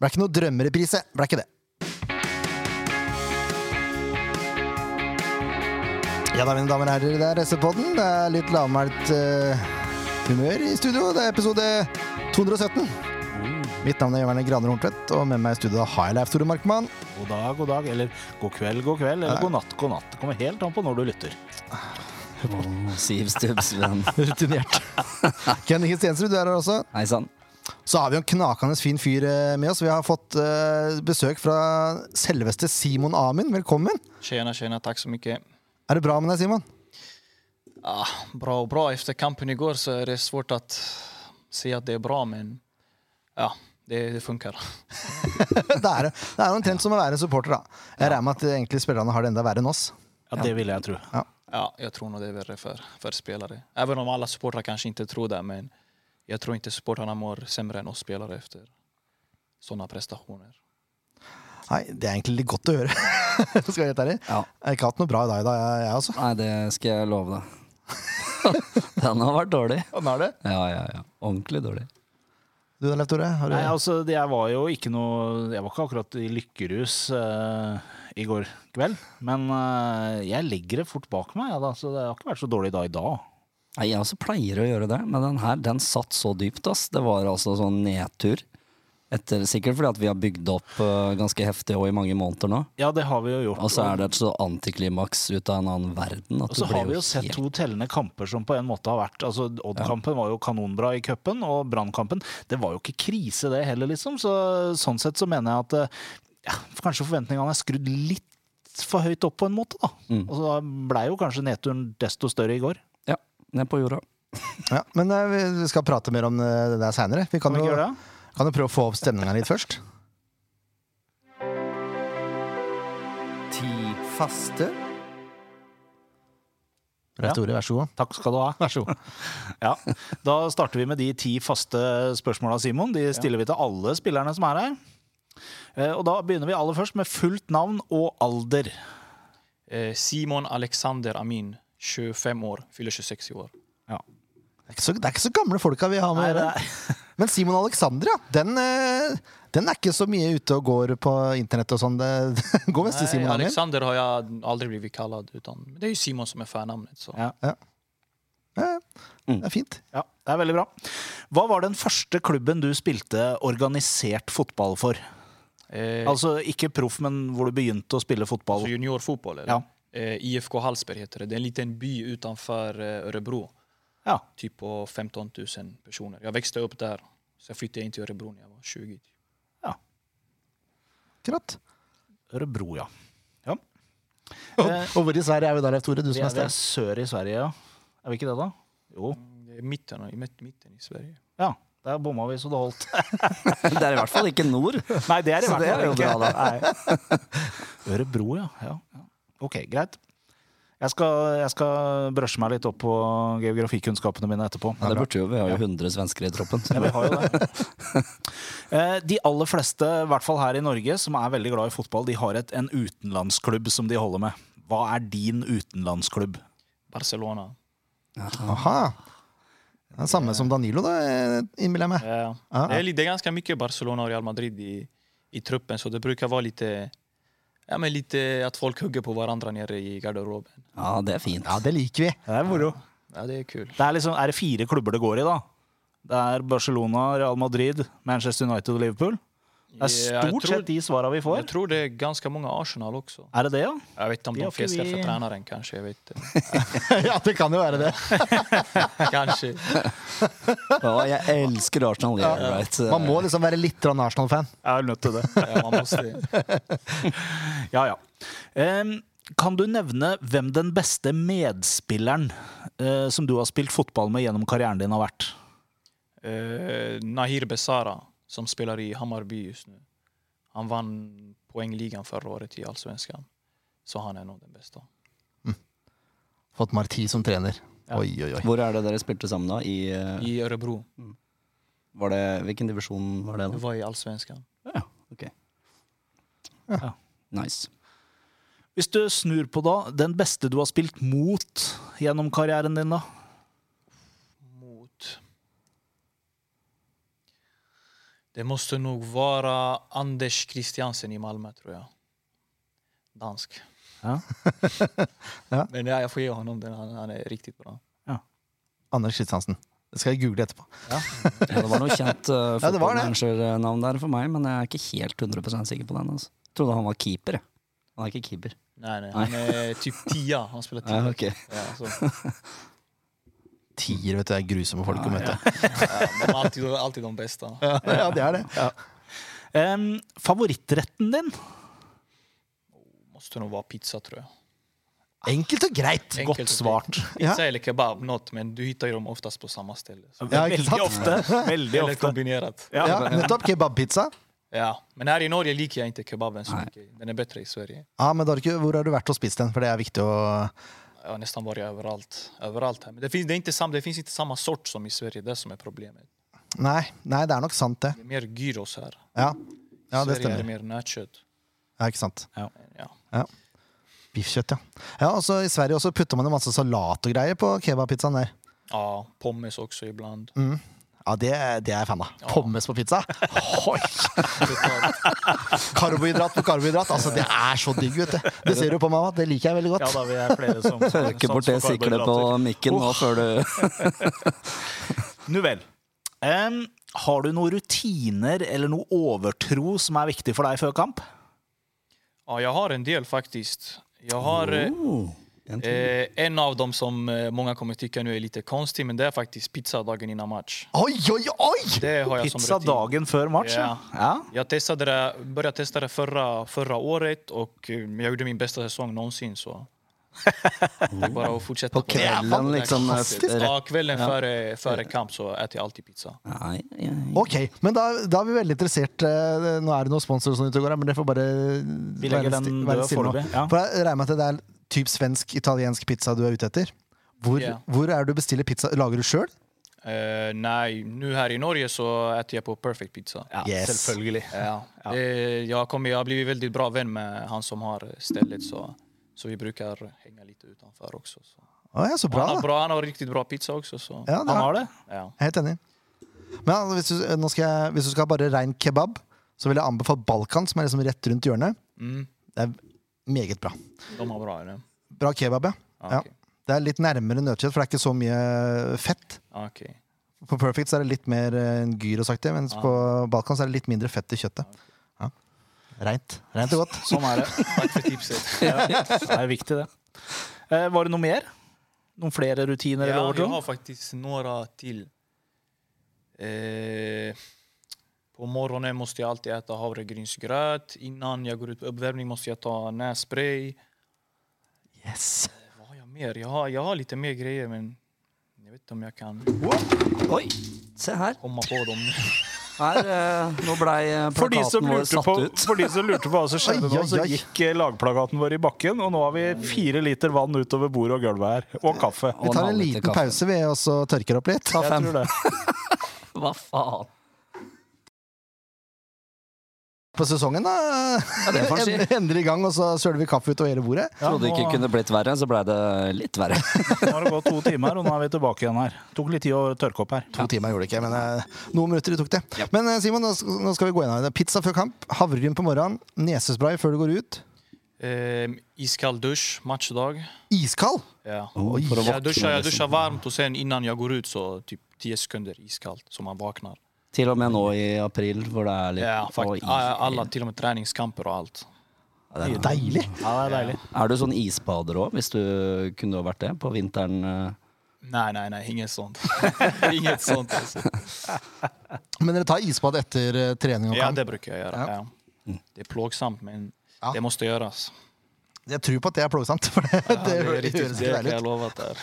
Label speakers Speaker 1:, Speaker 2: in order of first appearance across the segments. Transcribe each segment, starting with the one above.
Speaker 1: Ble ikke noe drømmereprise. Ble ikke det. Ja da, mine damer og herrer, det er SV-podden. Det er litt lavmælt eh, humør i studio. Det er episode 217. Mitt navn er Jørgen Graner Horntvedt, og med meg i studio har jeg Leif Tore Markmann.
Speaker 2: God dag, god dag, eller god kveld, god kveld, eller god natt, god natt. Det kommer helt an på når du lytter.
Speaker 3: Siv Stubbsvenn.
Speaker 1: Rutinert. Kenny Kristiansrud, du er her også.
Speaker 3: Hei sann.
Speaker 1: Så har vi jo en knakende fin fyr eh, med oss. Vi har fått eh, besøk fra selveste Simon Amin. Velkommen.
Speaker 4: Tjena, tjena, tack så mycket.
Speaker 1: Er det bra med deg, Simon?
Speaker 4: Ah, bra och bra. Efter kampen igår så är det svårt att se att det är bra, men ja, det, det funkar.
Speaker 1: det er det er jo omtrent som å være supporter, da. Jeg regner med at egentlig spillerne har det enda verre enn oss.
Speaker 2: Ja, det ville jeg tro.
Speaker 4: Ja, jag tror nog det är värre för, för spelare. Även om alla supportrar kanske inte tror det, men jag tror inte supportrarna mår sämre än oss spelare efter sådana prestationer.
Speaker 1: Nei, det er egentlig litt godt å høre. Skal jeg være helt ærlig.
Speaker 3: Ja.
Speaker 1: Jeg har ikke hatt noe bra i dag, da, jeg, jeg også.
Speaker 3: Nei, det skal jeg love deg. Den har vært dårlig.
Speaker 1: Sånn er det.
Speaker 3: Ja, ja, ja. Ordentlig dårlig.
Speaker 1: Du da, Leif Tore? Har du...
Speaker 2: Nei, altså, det- jeg var jo ikke noe Jeg var ikke akkurat i lykkerus eh, i går kveld. Men eh, jeg legger det fort bak meg, ja, da, så det har ikke vært så dårlig da i dag.
Speaker 3: Nei, jeg også pleier å gjøre det, men den her den satt så dypt. ass. Det var altså sånn nedtur. Etter, sikkert fordi at vi har bygd opp eh, ganske heftig og i mange måneder nå.
Speaker 2: Ja, det har vi jo gjort.
Speaker 3: Og så er det et så antiklimaks ut av en annen verden. At
Speaker 2: Og så
Speaker 3: du blir
Speaker 2: har vi
Speaker 3: jo
Speaker 2: jo sett
Speaker 3: helt-
Speaker 2: to tellende kamper som på en måte har vært altså Odd-kampen var jo kanonbra i cupen, og Brann-kampen Det var jo ikke krise, det heller, liksom. Så, sånn sett så mener jeg at eh, ja, kanskje forventningene er skrudd litt for høyt opp, på en måte. da. Og så da blei jo kanskje nedturen desto større i går.
Speaker 3: Ja, ned på jorda.
Speaker 1: Ja, men eh, vi vi skal prate mer om eh, det der seinere. Vi kan,
Speaker 2: Kan vi ikke
Speaker 1: jo,
Speaker 2: gjøre det?
Speaker 1: kan jo prøve å få opp stemninga litt først.
Speaker 3: Ti faste.
Speaker 2: Ja.
Speaker 1: Leif Tore, vær så god.
Speaker 2: Takk skal du ha. Vær så god. ja, Da starter vi med de ti faste spørsmåla, Simon. De stiller vi til alle spillerne som er her. Eh, Og da begynner vi aller først med fullt navn og alder.
Speaker 4: Eh, Simon Alexander Amin, 25 år, fyller 26 i år.
Speaker 1: Det er ikke så, det er ikke så gamle folka vi har med å
Speaker 2: Nei,
Speaker 1: gjøre. Men Simon Alexander, ja. Den, eh, den er ikke så mye ute og går på internett og sånn. Det går mest til
Speaker 4: Nej,
Speaker 1: Simon Amin.
Speaker 4: Eh, Alexander har jag aldrig blivit kallad, utan det är ju Simon som är förnamnet. Så.
Speaker 2: Ja. Mm.
Speaker 1: Det er fint.
Speaker 2: Ja, det er veldig bra. Hva var den første klubben du spilte organisert fotball for?
Speaker 4: Eh,
Speaker 2: Altså ikke proff, men hvor du begynte å spille fotball.
Speaker 4: Alltså juniorfotboll? Eller?
Speaker 2: Ja.
Speaker 4: Eh, IFK Hallsberg heter det. Det är en liten by utanför eh, Örebro.
Speaker 2: Ja,
Speaker 4: Typ på 15 000 personer. Jag växte upp där. Sen flyttade jag in till Örebro när jag var 20.
Speaker 1: Akkurat.
Speaker 2: Ørebro, ja. ja. Eh,
Speaker 1: Og, og hvor i Sverige er vi da, Leif Tore? Du
Speaker 2: Vi
Speaker 1: som
Speaker 2: er
Speaker 1: er
Speaker 2: ved
Speaker 1: sterk.
Speaker 2: sør i Sverige, ja. Er vi ikke det, da? Jo.
Speaker 4: Det är mitten, i mitt- mitten i Sverige.
Speaker 2: Ja. Der bomma vi så det holdt.
Speaker 3: Det er i hvert fall ikke nord.
Speaker 2: Nei, det er i
Speaker 3: Så
Speaker 2: hvert
Speaker 3: det er
Speaker 2: fall
Speaker 3: jo
Speaker 2: ikke.
Speaker 3: bra, da.
Speaker 2: Nei. Ørebro, ja. ja. ja. Ok, greit. Jeg skal, jeg skal brushe meg litt opp på geografikunnskapene mine etterpå.
Speaker 3: Ja, det burde jo, vi har jo 100 svensker i troppen.
Speaker 2: Ja, vi har jo det. Eh, De aller fleste, i hvert fall her i Norge, som er veldig glad i fotball, de har et, en utenlandsklubb som de holder med. Hva er din utenlandsklubb?
Speaker 4: Barcelona.
Speaker 1: Aha. Det er samme som Danilo, da, eh, innbiller jeg meg.
Speaker 4: Eh,
Speaker 1: Ja.
Speaker 2: Ah,
Speaker 4: det, är, li- det är ganska mycket Barcelona och Real Madrid i, i truppen, så det brukar vara lite, ja, men lite att folk hugger på varandra nere i garderoben.
Speaker 3: Ja, det er fint.
Speaker 1: Ja, det liker vi.
Speaker 2: Det er moro.
Speaker 4: Ja, det är kul.
Speaker 2: Det er, liksom, er det fire klubber det går i, da? Det er Barcelona, Real Madrid, Manchester United og Liverpool. Det er
Speaker 4: Ja, Eh, jag
Speaker 2: stort
Speaker 4: tror-
Speaker 2: sett de svara vi
Speaker 4: Jag
Speaker 2: får.
Speaker 4: tror det är ganska många Arsenal också.
Speaker 2: Er det det, ja?
Speaker 4: Jag vet inte om
Speaker 2: Det har
Speaker 4: de
Speaker 2: inte
Speaker 4: fiskar
Speaker 2: vi-
Speaker 4: för tränaren kanske. Jag vet inte.
Speaker 1: ja, det kan jo være det.
Speaker 4: Kanske.
Speaker 3: Ja, jeg elsker Arsenal. Yeah, right.
Speaker 1: Man må liksom være litt grann Arsenal-fan.
Speaker 2: Jeg er nødt til det.
Speaker 4: Ja, man måste.
Speaker 2: Ja, ja. Ehm, kan du nevne hvem den beste medspilleren eh, som du har spilt fotball med gjennom karrieren din, har vært?
Speaker 4: Eh, Nahir Besara, som spelar i Hammarby just nu. Han vann poängligan förra året i Allsvenskan. Så han är nog den bästa.
Speaker 1: Fått Marti som trener. Oi, oi, oi.
Speaker 3: Hvor er det dere spilte sammen, da? I, eh,
Speaker 4: I Örebro.
Speaker 3: var det, hvilken divisjon var det, da?
Speaker 4: Det var i Allsvenskan.
Speaker 3: Ja, ok.
Speaker 2: Ja.
Speaker 3: Nice.
Speaker 2: Hvis du snur på da, den beste du har spilt mot gjennom karrieren din, da?
Speaker 4: Mot... Det måste nog vara Anders Christiansen i Malmö, tror jag. Dansk.
Speaker 2: Ja.
Speaker 1: Ja.
Speaker 4: Men ja, jag får ge honom den. Han, han är riktigt bra.
Speaker 1: Anders Kristiansen. Det skal jeg google etterpå.
Speaker 3: Ja, det var noe kjent uh,
Speaker 1: Ja, det var det.
Speaker 3: fotballmanager-navn der for meg, men jeg er ikke helt 100 sikker på den. Altså. Jeg trodde han var keeper. jeg. Han er ikke keeper.
Speaker 4: Nej, nej, han är typ tia. Han spelar tia.
Speaker 3: Ja, ok.
Speaker 4: Ja, så.
Speaker 1: Tier vet du, det er grusomme folk å møte.
Speaker 4: Ja, de är alltid, alltid de bästa.
Speaker 1: Ja, det er det. Ja.
Speaker 2: Em, favorittretten din?
Speaker 4: Måste nog vara pizza, tror jag.
Speaker 1: Enkelt og greit.
Speaker 4: Enkelt
Speaker 2: Godt
Speaker 4: og
Speaker 2: svart.
Speaker 4: Pizza eller kebab, något, men du hittar ju dem oftast på samma ställe. Så.
Speaker 1: Ja, ikke sant?
Speaker 2: Veldig ofte. Veldig
Speaker 4: Eller
Speaker 2: ofte.
Speaker 4: kombinerat.
Speaker 2: Ja.
Speaker 1: Ja, nettopp. Kebabpizza.
Speaker 4: Ja. Men här i Norge liker jag inte kebaben så
Speaker 3: Nej.
Speaker 4: mycket. Den är bättre i Sverige.
Speaker 1: Ja, men da har du ikke, Hvor har du vært og spist den? For det er viktig å
Speaker 4: Jag har nästan varit överallt. överallt här. Men det finns, det, är inte sam, det finns inte samma sort som i Sverige, det som är problemet.
Speaker 1: Nei, nei det er nok sant, det.
Speaker 4: Det är mer gyros här.
Speaker 1: Ja, ja det
Speaker 4: Sverige är
Speaker 1: stemmer.
Speaker 4: mer nötkött.
Speaker 1: Ja, ikke sant.
Speaker 4: Men Ja.
Speaker 1: Biffkjøtt, ja. Ja, og så I Sverige også putter man jo masse salat og greier på kebabpizzaen der.
Speaker 4: ja, pommes også ibland.
Speaker 1: Ja, det, det er jeg fan av. Pommes på pizza! Oi. Karbohydrat på karbohydrat. Altså, det er så digg, vet du. Det ser du på meg, at det liker jeg veldig
Speaker 2: Ja,
Speaker 1: godt.
Speaker 2: da vi er flere som
Speaker 1: sånn.
Speaker 3: Tørke bort det siklet på mikken nå før du
Speaker 2: Nu vel. Em, har du noen rutiner eller noe overtro som er viktig for deg før kamp?
Speaker 4: Ja, jag har en del faktiskt. Jag har eh,
Speaker 3: oh, en til.
Speaker 4: eh, en av dem som eh, många kommer tycka nu är lite konstig, men det är faktiskt pizza dagen innan match.
Speaker 1: Oi, oi, oi!
Speaker 4: Det har jag som
Speaker 2: Pizza
Speaker 4: rutin.
Speaker 2: dagen før match? Ja.
Speaker 4: Ja.
Speaker 2: ja.
Speaker 4: Jag testade det, började testa det förra, förra året och eh, jag gjorde min bästa säsong någonsin. Så. Det är bara att fortsätta
Speaker 3: På
Speaker 4: på det.
Speaker 3: kvelden, liksom.
Speaker 1: fantastisk.
Speaker 3: eh, Rett.
Speaker 4: Ja, kvällen före, före kamp så äter jag alltid pizza.
Speaker 3: Nei, ja, ja.
Speaker 1: Ok, men da, da er vi veldig interessert eh, Nå er det noen sponsorer som er ute og går her, men dere får bare
Speaker 2: Vi legger den
Speaker 1: sti-
Speaker 2: død
Speaker 1: stille nå.
Speaker 2: foreløpig, ja.
Speaker 1: For jeg regner med at det er typ svensk-italiensk pizza du er ute etter. Hvor,
Speaker 4: Ja.
Speaker 1: hvor er det du bestiller pizza? Lager du sjøl?
Speaker 4: Eh, nej, nu här i Norge så äter jag på perfect pizza.
Speaker 2: ja
Speaker 1: Yes.
Speaker 2: Selvfølgelig.
Speaker 4: Ja. Det, jag, kommer, jag har blivit väldigt bra vän med han som har stället så, så vi brukar hänga lite utanför också. Så.
Speaker 1: Å ja, så
Speaker 4: Han,
Speaker 1: bra,
Speaker 4: har
Speaker 1: da.
Speaker 4: bra, han har riktigt bra pizza också. Så.
Speaker 1: Ja, det
Speaker 2: Han
Speaker 1: er,
Speaker 2: har det?
Speaker 4: Ja.
Speaker 1: jeg er helt enig. Men altså, hvis, du, nå skal jeg, hvis du skal ha bare rein kebab, så vil jeg anbefale Balkan, som er liksom rett rundt hjørnet.
Speaker 4: Mm,
Speaker 1: Det er meget bra.
Speaker 4: de har bra eller?
Speaker 1: Bra kebab, ja.
Speaker 4: Ja, okej.
Speaker 1: Det er litt nærmere nøtkjøtt, for det er ikke så mye fett.
Speaker 4: Ja, okej.
Speaker 1: På Perfect så er det litt mer eh, en gyrosaktig, mens på Balkan så er det litt mindre fett i kjøttet. Ja. Reint. Reint og godt.
Speaker 2: Sånn er det.
Speaker 4: Tack för tipset.
Speaker 2: Det er viktig, det. Eh, var det noe mer? Noen flere rutiner eller
Speaker 4: Ja, jag har
Speaker 2: overtro?
Speaker 4: faktiskt några till. Eh, på morgonen måste jag alltid äta havregrynsgröt. Innan jag går ut på uppvärmning måste jag ta nässpray. Eh,
Speaker 1: Yes.
Speaker 4: Vad har jag mer? Jag har, jag har lite mer grejer men jag vet inte om jag kan
Speaker 3: Oi, se her.
Speaker 4: komma på dem.
Speaker 3: her eh, nå blei eh,
Speaker 2: For de, som
Speaker 3: plakaten vår
Speaker 2: lurte
Speaker 3: satt
Speaker 2: på,
Speaker 3: ut.
Speaker 2: for de som lurte på hva som skjedde
Speaker 1: Oi,
Speaker 2: nå,
Speaker 1: oi,
Speaker 2: så
Speaker 1: oi.
Speaker 2: gikk eh, lagplagaten vår i bakken, og nå har vi fire liter vann utover bordet og gulvet her. Og kaffe.
Speaker 1: Vi
Speaker 3: Og
Speaker 1: tar en
Speaker 3: halvliter
Speaker 1: liten
Speaker 3: kaffe.
Speaker 1: pause, vi, og så tørker opp litt.
Speaker 2: Jeg tror det.
Speaker 3: Hva faen?
Speaker 1: På sesongen, da.
Speaker 3: Ja, det får en si.
Speaker 1: End- Endelig i gang, og så søler vi kaffe utover hele bordet.
Speaker 2: Ja,
Speaker 3: Trodde ikke det
Speaker 2: nå,
Speaker 3: kunne blitt verre, så blei det litt verre.
Speaker 2: nå har det gått to timer, og nå er vi tilbake igjen her. Tok litt tid å tørke opp her.
Speaker 1: To timer gjorde det ikke, men eh, noen minutter tok det. Men eh, Simon, nå sk- nå skal vi gå gjennom det. Pizza før kamp, havregryn på morgenen, nesespray før du går ut.
Speaker 4: Eh, iskall dusch, matchdag.
Speaker 1: Iskald!
Speaker 4: Ja.
Speaker 3: Oi, for å
Speaker 4: Jag duschar,
Speaker 3: våkne,
Speaker 4: jag duschar
Speaker 3: liksom.
Speaker 4: varmt och sen innan jag går ut så typ 10 sekunder iskallt så man vaknar.
Speaker 3: Til og med nå i april, hvor det er litt
Speaker 4: Ja,
Speaker 3: Oi.
Speaker 4: fakt- alla, till och med träningskamper och allt.
Speaker 1: Deilig!
Speaker 2: Ja, det er deilig.
Speaker 3: Er du sånn isbader òg, hvis du kunne ha vært det på vinteren? eh?
Speaker 4: Nej, nej, nej, inget sånt. inget sånt alltså.
Speaker 1: Men dere tar isbad etter eh, trening og
Speaker 4: Ja,
Speaker 1: kamp?
Speaker 4: det brukar jag göra. Ja. Mm. Det är plågsamt, men
Speaker 1: Ja.
Speaker 4: det måste göras.
Speaker 1: Jeg tror på at det er plagsomt, for det, det,
Speaker 4: Det är
Speaker 1: høres
Speaker 4: riktigt,
Speaker 1: ikke
Speaker 4: det kan
Speaker 1: deilig
Speaker 4: jag
Speaker 1: ut.
Speaker 4: lova att det är.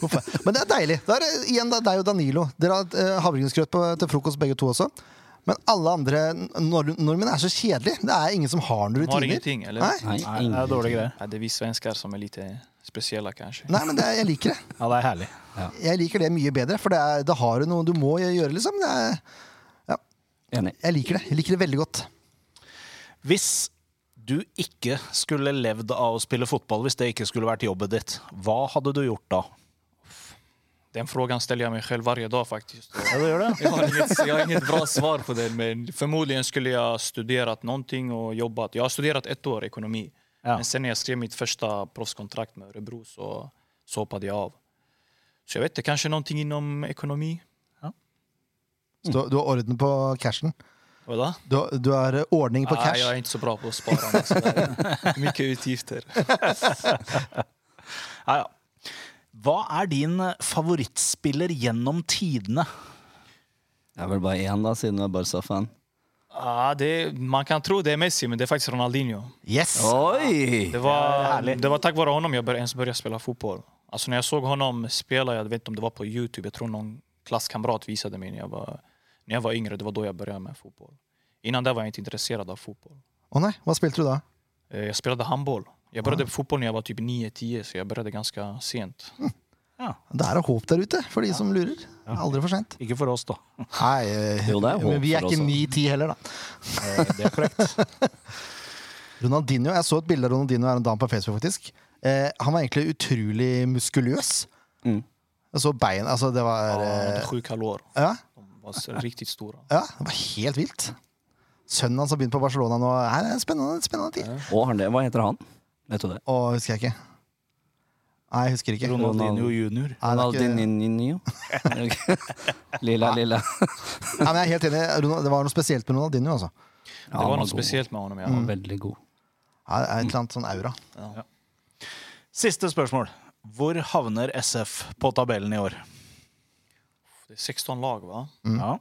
Speaker 1: Hvorfor? Men det er deilig. Da er det igjen da, deg og Danilo. Dere har eh, havregrynsgrøt på- til frokost begge to også. Men alle andre nor nordmenn er så kjedelige. Det er ingen som har noen
Speaker 4: De har
Speaker 1: rutiner.
Speaker 4: ingenting, eller?
Speaker 1: Nei.
Speaker 3: Nei,
Speaker 2: Nei, det
Speaker 3: ingen.
Speaker 2: er dårlige greier.
Speaker 4: Ja, det är vi svenskar som är lite speciella kanske.
Speaker 1: Nei, men det er, jeg liker det.
Speaker 2: Ja, det er herlig.
Speaker 1: Jeg liker det mye bedre, for det, er, det har du noe du må gjøre, liksom. Det er,
Speaker 3: Enig.
Speaker 1: jeg liker det. Jeg liker det veldig godt.
Speaker 2: Hvis du ikke skulle levd av å spille fotball, hvis det ikke skulle vært jobbet ditt, hva hadde du gjort da?
Speaker 4: Den frågan ställer jag mig själv varje dag faktiskt.
Speaker 2: Ja, det gjør det.
Speaker 4: Jag har, inget, jag har inget bra svar på den, men förmodligen skulle jag studerat någonting och jobbat. Jag har studerat ett år ekonomi,
Speaker 2: Ja.
Speaker 4: men sen när jag skrev mitt första proffskontrakt med Örebro så, så hoppade jag av. Så jeg vet inte, kanskje noe innom økonomi?
Speaker 1: Så du, du har orden på cashen.
Speaker 4: Hva da?
Speaker 1: Du, har- du har eh, ordning på
Speaker 4: Nei,
Speaker 1: cash.
Speaker 4: jeg er ikke så bra på å spare. meg, så det er Mye utgifter.
Speaker 2: Ja, ja. Hva er din favorittspiller gjennom tidene?
Speaker 3: Det er vel bare én, da, siden du er Barca-fan.
Speaker 4: Ja, det, man kan tro det er Messi, men det er faktisk Ronaldinho.
Speaker 1: Yes!
Speaker 3: Oi!
Speaker 4: Det
Speaker 2: Ja, det
Speaker 4: var,
Speaker 2: är härligt.
Speaker 4: det var tack vare honom jag började, ens började spela fotboll. Alltså när jag såg honom spela, jag vet inte om det var på Youtube, jag tror någon klasskamrat visade mig när jag var, när jag var yngre, det var då jag började med fotboll. Innan det var jag inte intresserad av fotboll.
Speaker 1: Å nei, hva spilte du da?
Speaker 4: Eh, Jag spelade handboll. Jag började på fotboll när jag var typ 9-10, så jag började ganska sent.
Speaker 1: Det er håp der ute, for de som lurer. Aldri for seint.
Speaker 2: Ikke for oss, da.
Speaker 1: Nei, eh,
Speaker 3: Jo, det er håp
Speaker 1: men vi er
Speaker 3: for
Speaker 1: ikke
Speaker 3: oss,
Speaker 1: 9-10
Speaker 3: altså. da.
Speaker 1: heller, da.
Speaker 2: Det er korrekt.
Speaker 1: Ronaldinho, Jeg så et bilde av Ronaldinho her en dag på Facebook, faktisk. Eh, han var egentlig utrolig muskuløs.
Speaker 3: Mm.
Speaker 1: Jeg så bein Altså, det var
Speaker 4: Jag hade
Speaker 1: eh,
Speaker 4: sju kalor.
Speaker 3: Ah.
Speaker 1: ja,
Speaker 4: De var så riktigt stora.
Speaker 1: ja, det var helt vilt. Sønnen hans har begynt på Barcelona nå. Nei, det er en spennende, spennende tid.
Speaker 3: Og han det, hva heter han? Vet du det?
Speaker 1: Å, husker jeg ikke. Nei, jeg husker ikke.
Speaker 2: Ronaldinho junior.
Speaker 1: Nei, det er ikke...
Speaker 3: Ronaldinho. Lilla, lilla.
Speaker 1: Nei, men jeg er helt enig. Ronal- Det var noe spesielt med Ronaldinho, altså.
Speaker 4: Det var något speciellt med honom. Ja.
Speaker 3: Han var veldig god.
Speaker 1: Ja, det er et eller annet sånn aura.
Speaker 2: Siste spørsmål. Hvor havner SF på tabellen i år?
Speaker 4: Det är 16 lag va?
Speaker 1: Mm.
Speaker 2: Ja.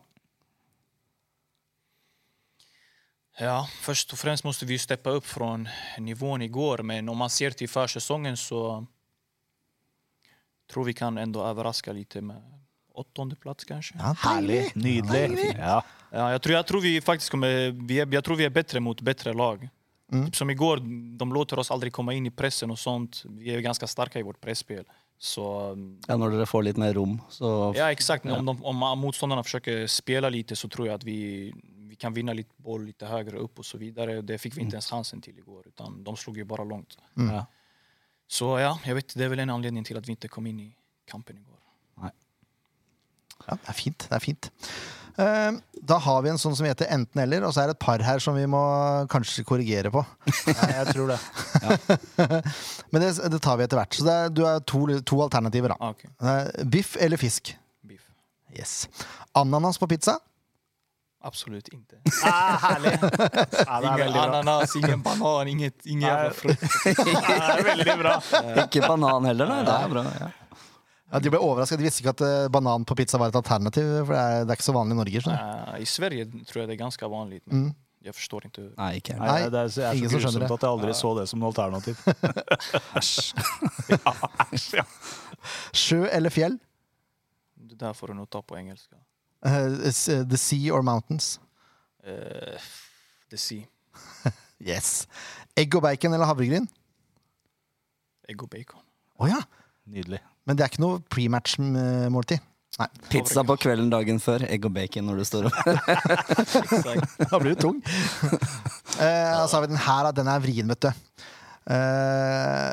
Speaker 4: Ja, först och främst måste vi ju steppa upp från nivån igår, men om man ser till försäsongen så tror vi kan ändå överraska lite med åttonde plats kanske. Ja.
Speaker 1: Ja, deilig!
Speaker 2: Nydelig. Ja.
Speaker 4: jag, tror, jag tror vi faktiskt kommer, vi är, jag tror vi är bättre mot bättre lag. Typ som igår, de låter oss aldrig komma in i pressen og sånt. Vi är ganska starka i vårt presspel. Så
Speaker 3: Ja, når dere får litt mer rom, så
Speaker 4: ja, exakt. Om, de, om motståndarna försöker spela lite så tror jag att vi, vi kan vinna lite boll lite högre upp och så vidare. Det fick vi
Speaker 2: Mm.
Speaker 4: inte ens chansen till igår, utan de slog ju bara långt.
Speaker 2: Ja.
Speaker 4: Så ja, jag vet, det är väl en anledning till att vi inte kom in i kampen igår.
Speaker 1: Ja, det er fint. Det er fint. Eh, Da har vi en sånn som heter enten-eller, og så er det et par her som vi må kanskje korrigere på.
Speaker 2: jeg tror det.
Speaker 1: Men det, det tar vi etter hvert. Så det er, du har to, to alternativer, da.
Speaker 4: Ah, okej.
Speaker 1: Eh, Biff eller fisk?
Speaker 4: Biff.
Speaker 1: Yes. Ananas på pizza?
Speaker 4: Absolut inte.
Speaker 2: Ah, herlig. Ja, det er
Speaker 4: Ingen
Speaker 2: veldig bra.
Speaker 4: ananas, ingen banan, inget, ingen jävla
Speaker 2: Nej.
Speaker 4: frukt.
Speaker 2: Det er veldig bra.
Speaker 3: Ikke banan heller, nei. Det er bra. Ja.
Speaker 1: Ja, de ble overraska. De visste ikke at eh, banan på pizza var et alternativ. For det er, det er ikke så vanlig i Norge. skjønner du.
Speaker 4: Eh, I Sverige tror jeg det er ganske vanlig, men
Speaker 2: Mm.
Speaker 4: jeg forstår ikke hur.
Speaker 3: Nei, ikke heller.
Speaker 2: Nei, det er, det er
Speaker 1: ingen
Speaker 2: så
Speaker 1: som skjønner det.
Speaker 2: grusomt at jeg aldri så det som noe alternativ. Ja, æsj, ja.
Speaker 1: Sjø eller fjell?
Speaker 4: Det der får du nog ta på engelska.
Speaker 1: Eh, s- eh, the sea or mountains?
Speaker 4: Eh, the sea.
Speaker 1: Yes. Egg og bacon eller havregryn?
Speaker 4: Egg och bacon.
Speaker 1: Å ja!
Speaker 2: Nydelig.
Speaker 1: Men det er ikke noe eh, prematch-måltid. Nei,
Speaker 3: Pizza på kvelden dagen før, egg og bacon når du står opp.
Speaker 4: Exakt.
Speaker 1: da blir du tung. Eh, og så har vi den her, da. den er vrien, vet du. Eh,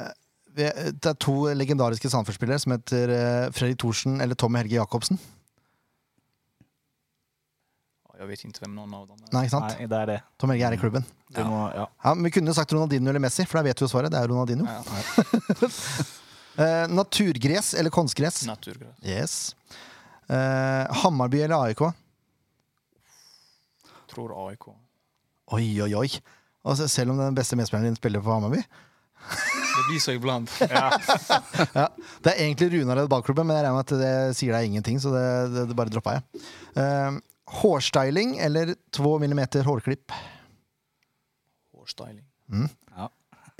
Speaker 1: vi- det er to legendariske Sandefjord-spillere som heter eh, Fredrik Thorsen eller Tommy Helge Jacobsen.
Speaker 4: Ja, Jeg vet ikke hvem noen av dem er.
Speaker 1: Nei, ikke sant?
Speaker 2: Nei, det er det.
Speaker 1: Tom Helge er i klubben.
Speaker 2: Du må, ja.
Speaker 1: Ja, men Vi kunne jo sagt Ronaldinho eller Messi, for da vet vi jo svaret. Det er jo Ronaldinho.
Speaker 4: Ja.
Speaker 1: Eh, naturgress eller konstgress?
Speaker 4: Naturgress.
Speaker 1: Yes. Eh, Hammarby eller AIK?
Speaker 4: Tror AIK.
Speaker 1: Oi, oi, oi. Altså, selv om den beste medspilleren din spiller for Hammarby?
Speaker 4: Det blir så iblant.
Speaker 1: Ja, det er egentlig Runared ballklubben, men jeg regner med at det sier deg ingenting, så det, det, det bare droppa jeg. Eh, hårstyling eller 2 mm hårklipp?
Speaker 4: Hårstyling.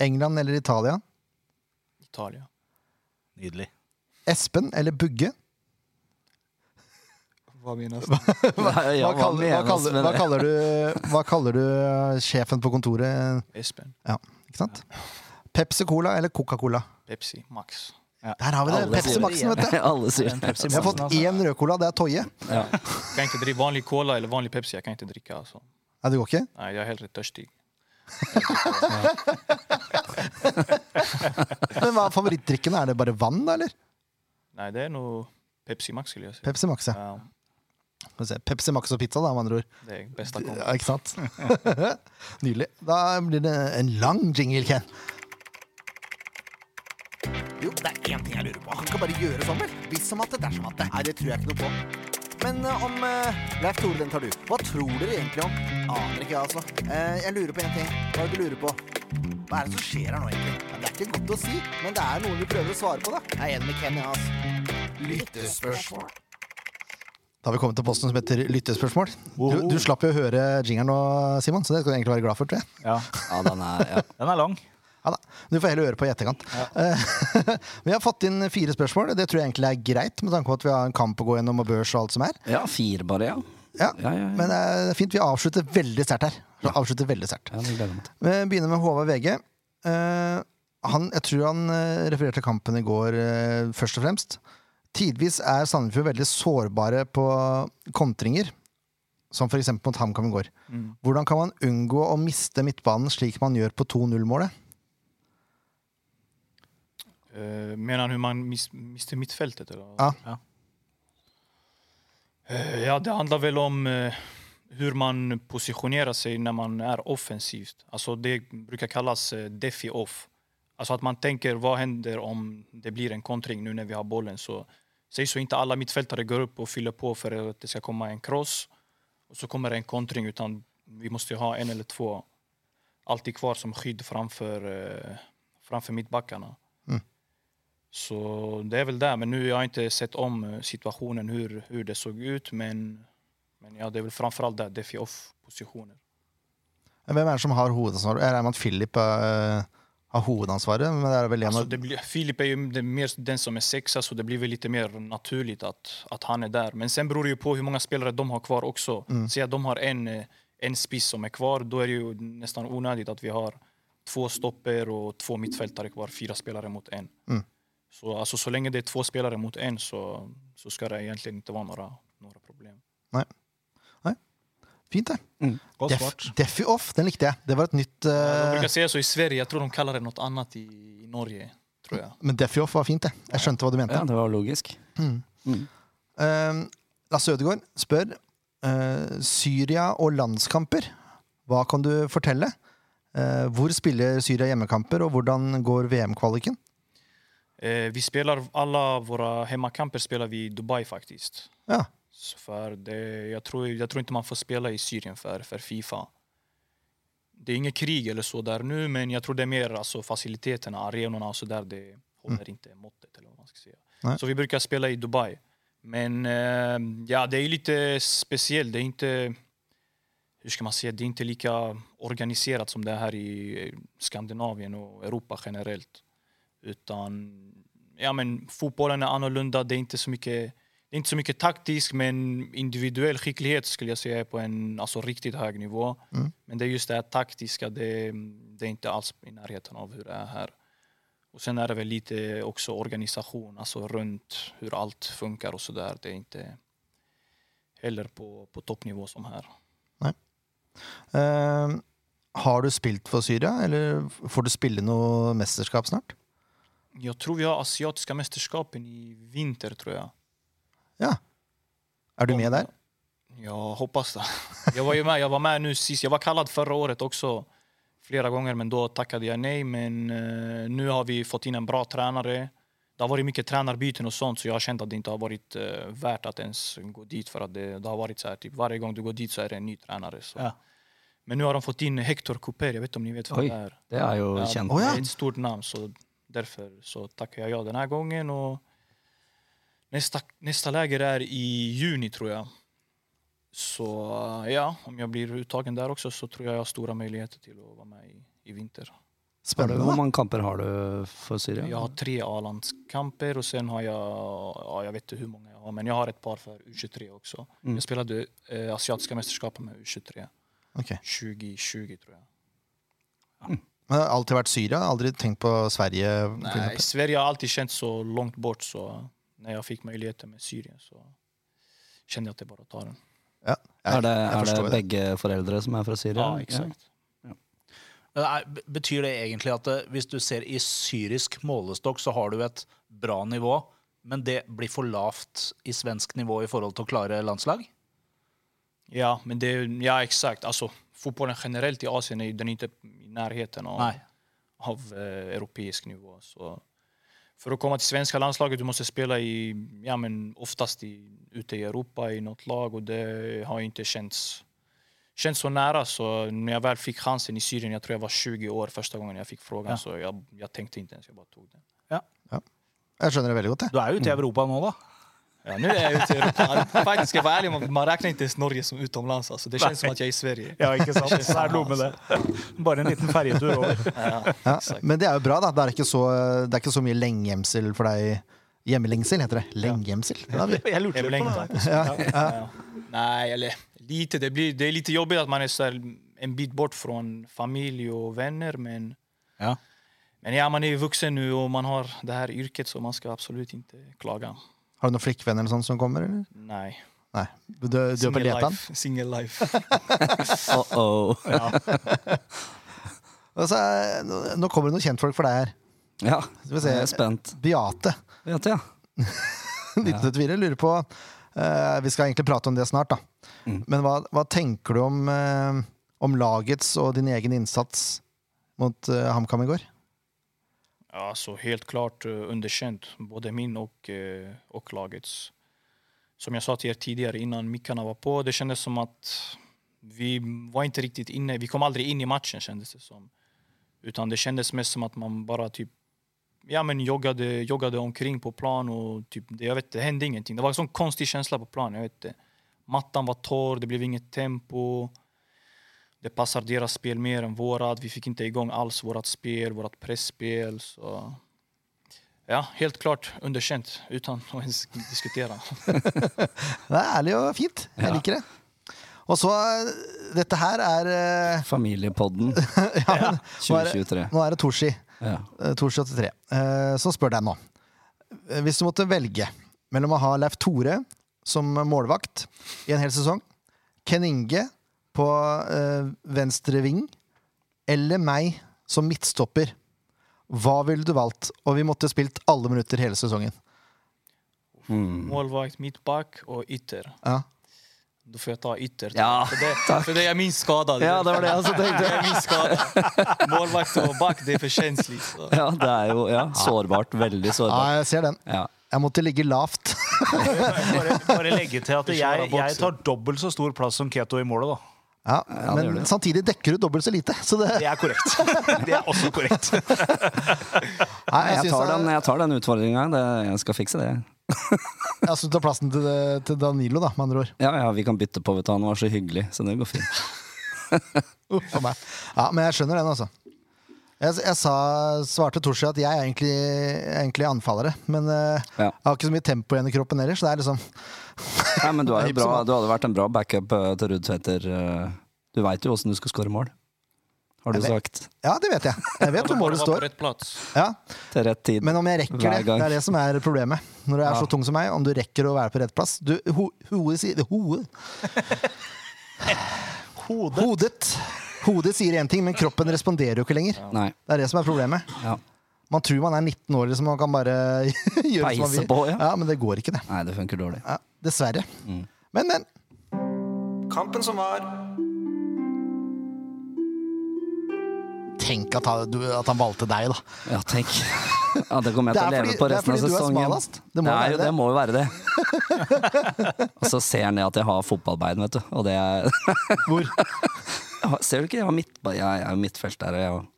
Speaker 1: England eller Italia?
Speaker 4: Italia.
Speaker 2: Nydelig.
Speaker 1: Espen eller Bugge?
Speaker 4: Hva menes det?
Speaker 3: Nei,
Speaker 1: Hva
Speaker 3: ja,
Speaker 1: kaller, hva,
Speaker 3: menes
Speaker 1: kaller,
Speaker 3: med
Speaker 1: hva,
Speaker 3: det?
Speaker 1: kaller du, hva kaller du sjefen på kontoret?
Speaker 4: Espen.
Speaker 1: Ikke sant? Pepsi Cola eller Coca-Cola?
Speaker 4: Pepsi. Max.
Speaker 1: Der har vi det!
Speaker 3: Alle
Speaker 1: Pepsi
Speaker 3: sier-
Speaker 1: Maxen, vet du!
Speaker 3: Alle sier det.
Speaker 1: Jeg har fått
Speaker 3: altså.
Speaker 1: én rød cola, det er Toje.
Speaker 3: Ja.
Speaker 4: Jeg kan ikke drikke vanlig cola eller vanlig Pepsi. Jeg kan ikke drikke. altså.
Speaker 1: Nei, det går ikke?
Speaker 4: Nei, Jeg er heller tørstig.
Speaker 1: Men hva er favorittdrikken? Er det bare vann, da, eller?
Speaker 4: Nei, det er noe Pepsi Max skulle jag säga.
Speaker 1: Pepsi Max, ja.
Speaker 4: Ja,
Speaker 1: Skal vi se. Pepsi Max og pizza, da, med andre ord.
Speaker 4: det är bästa kombo.
Speaker 1: Ja, ikke sant? Nydelig. Da blir det en lang jingle, Ken.
Speaker 5: Jo, det er én ting jeg lurer på. Han kan bare gjøre sånn, vel? Hvis som at det dersom at det. Nei, det tror jeg ikke noe på. Men eh, om uh, Leif Tore, den tar du. Hva tror dere egentlig om? Aner ikke, jeg, altså. Eh, jeg lurer på én ting. Hva er det du lurer på? Hva er det som skjer her nå, egentlig? Ja, det er ikke godt å si, men det er noen vi prøver å svare på, da. Jeg er enig med Ken, jeg, altså. Lyttespørsmål.
Speaker 1: Da har vi kommet til posten som heter lyttespørsmål. Du, du slapp jo å høre jingeren nå, Simon, så det skal du egentlig være glad for. tror jeg.
Speaker 2: Ja,
Speaker 3: Ja, den er, ja.
Speaker 2: Den er lang.
Speaker 1: Ja da, Du får heller høre på i etterkant. Eh, vi har fått inn fire spørsmål. Det tror jeg egentlig er greit, med tanke på at vi har en kamp å gå gjennom og børs og alt som er.
Speaker 3: ja, fire bare, ja.
Speaker 1: Ja,
Speaker 3: Ja, ja, ja.
Speaker 1: Men eh, det er fint. Vi avslutter veldig sterkt her. Vi avslutter veldig sterkt.
Speaker 3: ja det gleder jeg meg til.
Speaker 1: Vi Eh, begynner med Håvard VG. Eh, han, jeg tror han eh, refererte kampen i går eh, først og fremst. Tidvis er Sandefjord veldig sårbare på kontringer, som f.eks. mot HamKam i går. Hvordan kan man unngå å miste midtbanen slik man gjør på 2-0-målet?
Speaker 4: Eh, Menar han hur man mis- mister mittfältet? Eller?
Speaker 1: Ja.
Speaker 2: Ja.
Speaker 4: Eh, ja, det handlar väl om eh, hur man positionerar sig när man är offensivt. Alltså det brukar kallas eh, defi-off. Alltså att man tänker vad händer om det blir en kontring nu när vi har bollen. Så, säg så inte alla mittfältare går upp och fyller på för att det ska komma en cross och så kommer det en kontring utan vi måste ju ha en eller två alltid kvar som skydd framför, eh, framför mittbackarna. Så det är väl där. Men nu har jag inte sett om eh, situationen, hur, hur det såg ut. Men, men ja, det är väl framförallt där, defi off positioner.
Speaker 1: Hvem er det som har hovedansvaret? Jeg regner med at Philip eh, har hovedansvaret, men Altså, det er vel en
Speaker 4: Alltså
Speaker 1: av
Speaker 4: det blir, Filip är ju den, mer, den som är sexa, så det blir väl lite mer naturligt att, att han är där. Men sen beror det ju på hur många spelare de har kvar också. Säg att de har en, eh, en spiss som är kvar, då är det ju nästan onödigt att vi har två stopper och två mittfältare kvar, fyra spelare mot en. Så, alltså, så länge det är två spelare mot en så, så ska det egentligen inte vara några, några problem.
Speaker 1: Nei. Nei. Fint, det.
Speaker 2: Godt
Speaker 1: Def,
Speaker 2: svart.
Speaker 1: Defi off, den likte jeg. Det var et nytt
Speaker 4: De
Speaker 1: eh,
Speaker 4: brukar säga så i Sverige, jeg tror de kallar det något annat i, i Norge. Tror jeg.
Speaker 1: Men Defi off var fint, det. Jeg skjønte hva du mente.
Speaker 3: Ja, det var logisk.
Speaker 1: Eh, Lasse Ødegaard spør eh, Syria og landskamper. Hva kan du fortelle? Eh, hvor spiller Syria hjemmekamper, og hvordan går VM-kvaliken?
Speaker 4: Eh, vi spelar, alla våra hemmakamper spelar vi i Dubai faktiskt.
Speaker 1: Ja.
Speaker 4: Så För det, jag, tror, jag tror inte man får spela i Syrien för, för Fifa. Det är inget krig eller så där nu, men jag tror det är mer alltså, faciliteterna, arenorna och så där, det håller inte måttet. Eller vad man ska säga.
Speaker 1: Nej.
Speaker 4: Så vi brukar spela i Dubai. Men eh, ja, det är lite speciellt. Det är inte, hur ska man säga, det är inte lika organiserat som det är här i eh, Skandinavien och Europa generellt. Utan ja, men fotbollen är annorlunda. Det är inte så mycket, det är inte så mycket taktisk, men individuell skicklighet skulle jag säga är på en alltså, riktigt hög nivå. Men det är just det här taktiska, det, det är inte alls i närheten av hur det är här. Och sen är det väl lite också organisation, alltså runt hur allt funkar och sådär. Det är inte heller på, på toppnivå som här.
Speaker 1: Eh, har du spilt for Syria, eller får du spille noe mesterskap snart?
Speaker 4: Jag tror vi har asiatiska mästerskapen i vinter tror jag.
Speaker 1: Ja. Er du med der?
Speaker 4: Jag hoppas det. Jag var ju med, jag var med nu sist. Jag var kallad förra året också flera gånger, men då tackade jag nej. Men eh, nu har vi fått in en bra tränare. Det har varit mycket tränarbyten och sånt, så jag har känt att det inte har varit eh, värt att ens gå dit för att det, det har varit så här, typ varje gång du går dit så är det en ny tränare. Så.
Speaker 2: Ja.
Speaker 4: Men nu har de fått in Hector Cooper, jag vet inte om ni vet vem
Speaker 3: Oj.
Speaker 4: det är.
Speaker 3: Det er jo kjent.
Speaker 1: Å,
Speaker 4: Det
Speaker 1: ja.
Speaker 4: är ett stort namn, så därför så tackar jag ja den här gången. Och nästa, nästa läger är i juni, tror jag. Så eh, ja, om jag blir uttagen där också så tror jag jag har stora möjligheter till att vara med i, i vinter.
Speaker 3: Har du,
Speaker 1: Spennende.
Speaker 3: hvor
Speaker 1: da.
Speaker 3: mange kamper har du for Syria?
Speaker 4: Jag har tre A-landskamper och sen har jag, ja, jag vet inte hur många jag har, men jag har ett par för U23 också.
Speaker 1: Mm.
Speaker 4: Jag spelade eh, asiatiska mästerskapen med U23,
Speaker 1: Ok.
Speaker 4: 2020 tror jag.
Speaker 1: Men det har alltid vært Syria? Aldri tenkt på Sverige? for
Speaker 4: Nej,
Speaker 1: eksempel?
Speaker 4: Sverige har alltid känts så långt bort så när jag fick möjligheten med Syrien så kände jag att det bara att ta den.
Speaker 1: Ja, jeg,
Speaker 3: er det,
Speaker 1: jeg
Speaker 3: er det
Speaker 1: forstår det.
Speaker 3: begge foreldre som er fra Syria?
Speaker 4: Ja, exakt.
Speaker 2: Men er- b- eh, Betyr det egentlig at eh, hvis du ser i syrisk målestokk, så har du et bra nivå, Men det blir for lavt i svensk nivå i forhold til å klare landslag?
Speaker 4: Ja, men det, ja exakt. Alltså, fotbollen generellt i Asien är ju- den är inte i närheten av,
Speaker 2: Nei.
Speaker 4: av eh, europeisk nivå. Så för att komma till svenska landslaget du måste spela i, ja, men oftast i, ute i Europa i något lag och det har ju inte känts, känts så nära. Så när jag väl fick chansen i Syrien, jag tror jag var 20 år första gången jag fick frågan,
Speaker 2: Ja.
Speaker 4: så jag, jeg tänkte inte ens, jag bara tog den.
Speaker 1: Jeg skjønner det veldig godt, jeg.
Speaker 2: Du er jo ute i Europa nå, da.
Speaker 4: Ja, nu är jag ute i Europa. Faktiskt, ska jag vara ärlig, man, man räknar inte ens Norge som utomlands. Alltså. Det känns som att jag är i Sverige.
Speaker 2: Ja, ikke sant? Så er det noe med det. Bare en liten ferjetur over.
Speaker 4: Ja.
Speaker 1: Ja,
Speaker 4: Exakt.
Speaker 1: men det er jo bra, da. Det er ikke så, det er ikke så mye lengegjemsel for deg. Hjemmelengsel heter det. Lengegjemsel. Det er vi.
Speaker 2: Jeg lurte litt på det.
Speaker 4: Ja. Nej, eller lite. Det, blir, det är lite jobbigt att man är så här en bit bort från familj och vänner. Men,
Speaker 2: Ja.
Speaker 4: men ja, man är ju vuxen nu och man har det här yrket så man ska absolut inte klaga.
Speaker 1: Har du noen flikkvenner eller sånn som kommer? Eller?
Speaker 4: Nej.
Speaker 1: Nei. Du, du er på
Speaker 4: Single
Speaker 1: Letan.
Speaker 4: life. Single life.
Speaker 3: Uh-oh.
Speaker 1: Og så er- nå- nå kommer det noen kjentfolk for deg her.
Speaker 3: Ja,
Speaker 1: Skal vi se.
Speaker 3: jeg er spent.
Speaker 1: Beate.
Speaker 3: Vet jeg.
Speaker 1: Liten ja. tvil. Jeg lurer på eh, Vi skal egentlig prate om det snart, da. Men hva, hva tenker du om, eh, om lagets og din egen innsats mot eh, HamKam i går?
Speaker 4: Ja, så helt klart eh, underkänt, både min och, eh, och lagets. Som jag sa till er tidigare innan mickarna var på, det kändes som att vi var inte riktigt inne, vi kom aldrig in i matchen kändes det som. Utan det kändes mest som att man bara typ ja, men joggade, joggade omkring på plan och typ, det, jag vet, det hände ingenting. Det var en sån konstig känsla på plan, jag vet inte. Mattan var torr, det blev inget tempo. Det passar deras spel mer än vårat. Vi fick inte igång alls vårat spel, vårat pressspel. Så... Ja, helt klart underkänt utan att ens diskutera.
Speaker 1: Det er ærlig og fint. Jeg liker det. Og så eh, Dette her er eh,
Speaker 3: Familiepodden
Speaker 1: ja, men, nå, er, det-
Speaker 3: 2023.
Speaker 1: nå er det Toshi.
Speaker 3: Ja.
Speaker 1: eh, Toshi 83. eh, som spør deg nå. Eh, Hvis du måtte velge mellom å ha Leif Tore som målvakt i en hel sesong, Ken Inge på eh, venstre ving, eller meg som midtstopper, hva ville du valgt? Og vi måtte spilt alle minutter hele sesongen.
Speaker 3: Mm.
Speaker 4: Målvakt, mittback och ytter.
Speaker 1: Ja.
Speaker 4: Då får jag ta ytter.
Speaker 3: Ja,
Speaker 4: för, det, för det är jag minst skadad.
Speaker 3: Ja, det var det jeg også tenkte.
Speaker 4: Jag är minst skadad. Målvakt och back, det är för känsligt. Så.
Speaker 3: Ja, det er jo ja, sårbart. Veldig
Speaker 1: Ja,
Speaker 3: sårbart.
Speaker 1: jeg ser den.
Speaker 3: Ja.
Speaker 1: Jeg måtte ligge lavt.
Speaker 2: Bare, bare legge til at
Speaker 4: Du kjører
Speaker 2: jeg, jeg
Speaker 4: bokser.
Speaker 2: tar dobbelt så stor plass som Keto i målet, da.
Speaker 1: Ja,
Speaker 3: Ja, det gjør
Speaker 1: men
Speaker 3: det.
Speaker 1: samtidig dekker du dobbelt så lite. Så det,
Speaker 2: Det er korrekt. Det er også korrekt.
Speaker 1: Nei,
Speaker 3: Nei, Jeg
Speaker 1: syns
Speaker 3: tar
Speaker 1: det er-
Speaker 3: den, jeg tar den utfordringa. Jeg skal fikse det.
Speaker 1: Jeg syns du tar plassen til, til Danilo, da, med andre ord.
Speaker 3: Ja, ja, vi kan bytte på, vet du. Han var så hyggelig, så det går fint.
Speaker 1: Uff a meg. Ja, men jeg skjønner den, altså. Jeg, jeg sa, svarte Toshi at jeg er egentlig, egentlig anfallere, men eh,
Speaker 3: Ja.
Speaker 1: jeg har ikke så mye tempo igjen i kroppen ellers. så Det er liksom
Speaker 3: Nei, men du, er jo bra, du hadde vært en bra backup eh, til Ruud Tveter. eh. Du veit jo åssen du skal skåre mål, har du
Speaker 1: Jeg
Speaker 3: sagt.
Speaker 1: Ja, det vet jeg. Jeg vet hvor
Speaker 4: Bara
Speaker 1: målet
Speaker 4: vara på
Speaker 1: står.
Speaker 4: rätt plats.
Speaker 1: Ja.
Speaker 3: Til rett tid.
Speaker 1: Men om jeg rekker det,
Speaker 3: Hver gang.
Speaker 1: det er det som er problemet. Når du er så tung som meg, om du rekker å være på rett plass. Du, ho, hodet sier hodet.
Speaker 2: Hodet
Speaker 1: Hodet. hodet sier én ting, men kroppen responderer jo ikke lenger.
Speaker 3: Nei.
Speaker 1: Det er det som er problemet.
Speaker 3: Ja.
Speaker 1: Man tror man er 19 år, liksom, og kan bare gjøre som man
Speaker 3: Peise
Speaker 1: vil.
Speaker 3: på, ja.
Speaker 1: Ja, men det går ikke, det.
Speaker 3: Nei, det funker dårlig.
Speaker 1: Ja, dessverre.
Speaker 3: Mm.
Speaker 1: Men, men.
Speaker 5: Kampen som var
Speaker 1: Tenk at han, du, at han valgte deg, da.
Speaker 3: Ja, tenk. Ja, det kommer
Speaker 1: Det
Speaker 3: jeg til å
Speaker 1: er
Speaker 3: leve
Speaker 1: fordi-
Speaker 3: på
Speaker 1: det er
Speaker 3: resten av
Speaker 1: fordi du er
Speaker 3: sesongen.
Speaker 1: smalast. Det må
Speaker 3: det
Speaker 1: være
Speaker 3: er jo
Speaker 1: det.
Speaker 3: det. Må jo være det. Og så ser han ned at jeg har fotballbein, vet du. Og det er
Speaker 1: Hvor?
Speaker 3: Ja, Ser du ikke, jeg har midt, jeg er jo midtfelt der. Jeg, og-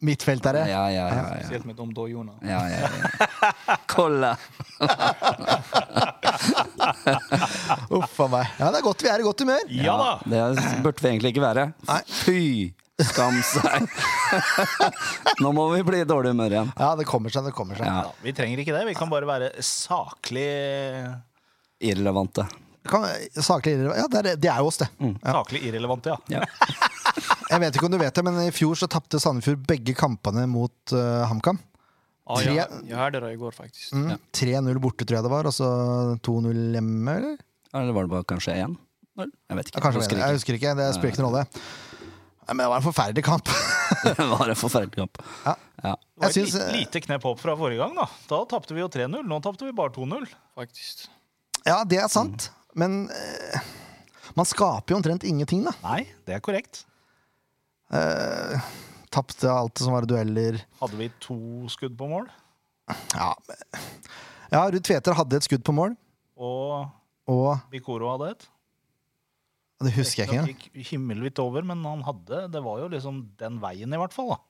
Speaker 1: Midtfeltere.
Speaker 3: ja, ja, ja, ja, ja.
Speaker 4: Speciellt med de dojorna.
Speaker 3: ja, ja, ja. Kolla!
Speaker 1: Uff a meg. Ja, det er godt vi er i godt humør.
Speaker 2: Ja da!
Speaker 3: Det burde vi egentlig ikke være.
Speaker 1: Nei.
Speaker 3: Fy! Skam seg! Nå må vi bli i dårlig humør igjen.
Speaker 1: Ja, det kommer seg, det kommer seg.
Speaker 3: Ja,
Speaker 2: Vi trenger ikke det. Vi kan bare være saklig
Speaker 3: Irrelevante.
Speaker 1: Kan, saklig irrelevant. Ja, det er, det er jo oss, det.
Speaker 3: Mm.
Speaker 2: Saklig irrelevante, ja.
Speaker 3: Ja.
Speaker 1: Jeg vet ikke om du vet det, men i fjor så tapte Sandefjord begge kampene mot eh, HamKam.
Speaker 4: Ja, jag,
Speaker 1: Tre-
Speaker 4: jag hörde det igår faktiskt.
Speaker 1: Mm. 3-0 borte, tror jeg det var, og så 2-0 hjemme, eller?
Speaker 3: Eller var det bare kanskje én? Jeg
Speaker 1: Ja,
Speaker 3: vet ikke.
Speaker 1: kanskje
Speaker 3: Husker
Speaker 1: det. Jeg husker ikke, det spiller ikke noen rolle. Nei, Men det var en forferdelig kamp.
Speaker 3: ikke. Det var en forferdelig kamp.
Speaker 1: Ja.
Speaker 3: Ja.
Speaker 2: Det
Speaker 1: Jeg
Speaker 2: var et
Speaker 1: syns,
Speaker 2: lite,
Speaker 1: eh,
Speaker 2: lite knep opp fra forrige gang. Da Da tapte vi jo 3-0. Nå tapte vi bare 2-0.
Speaker 4: Faktisk.
Speaker 1: Ja, det er sant.
Speaker 3: Mm.
Speaker 1: Men eh, man skaper jo omtrent ingenting, da.
Speaker 2: Nei, det er korrekt.
Speaker 1: Eh, Tapte alt som var dueller.
Speaker 2: Hadde vi to skudd på mål
Speaker 1: Ja, men- ja Ruud Tveter hadde et skudd på mål,
Speaker 2: og
Speaker 1: og
Speaker 2: Bikoro hadde et.
Speaker 1: det husker jeg ikke engang.
Speaker 2: Riktignok gikk himmelvidt over, men han hadde Det var jo liksom den veien, i hvert fall. da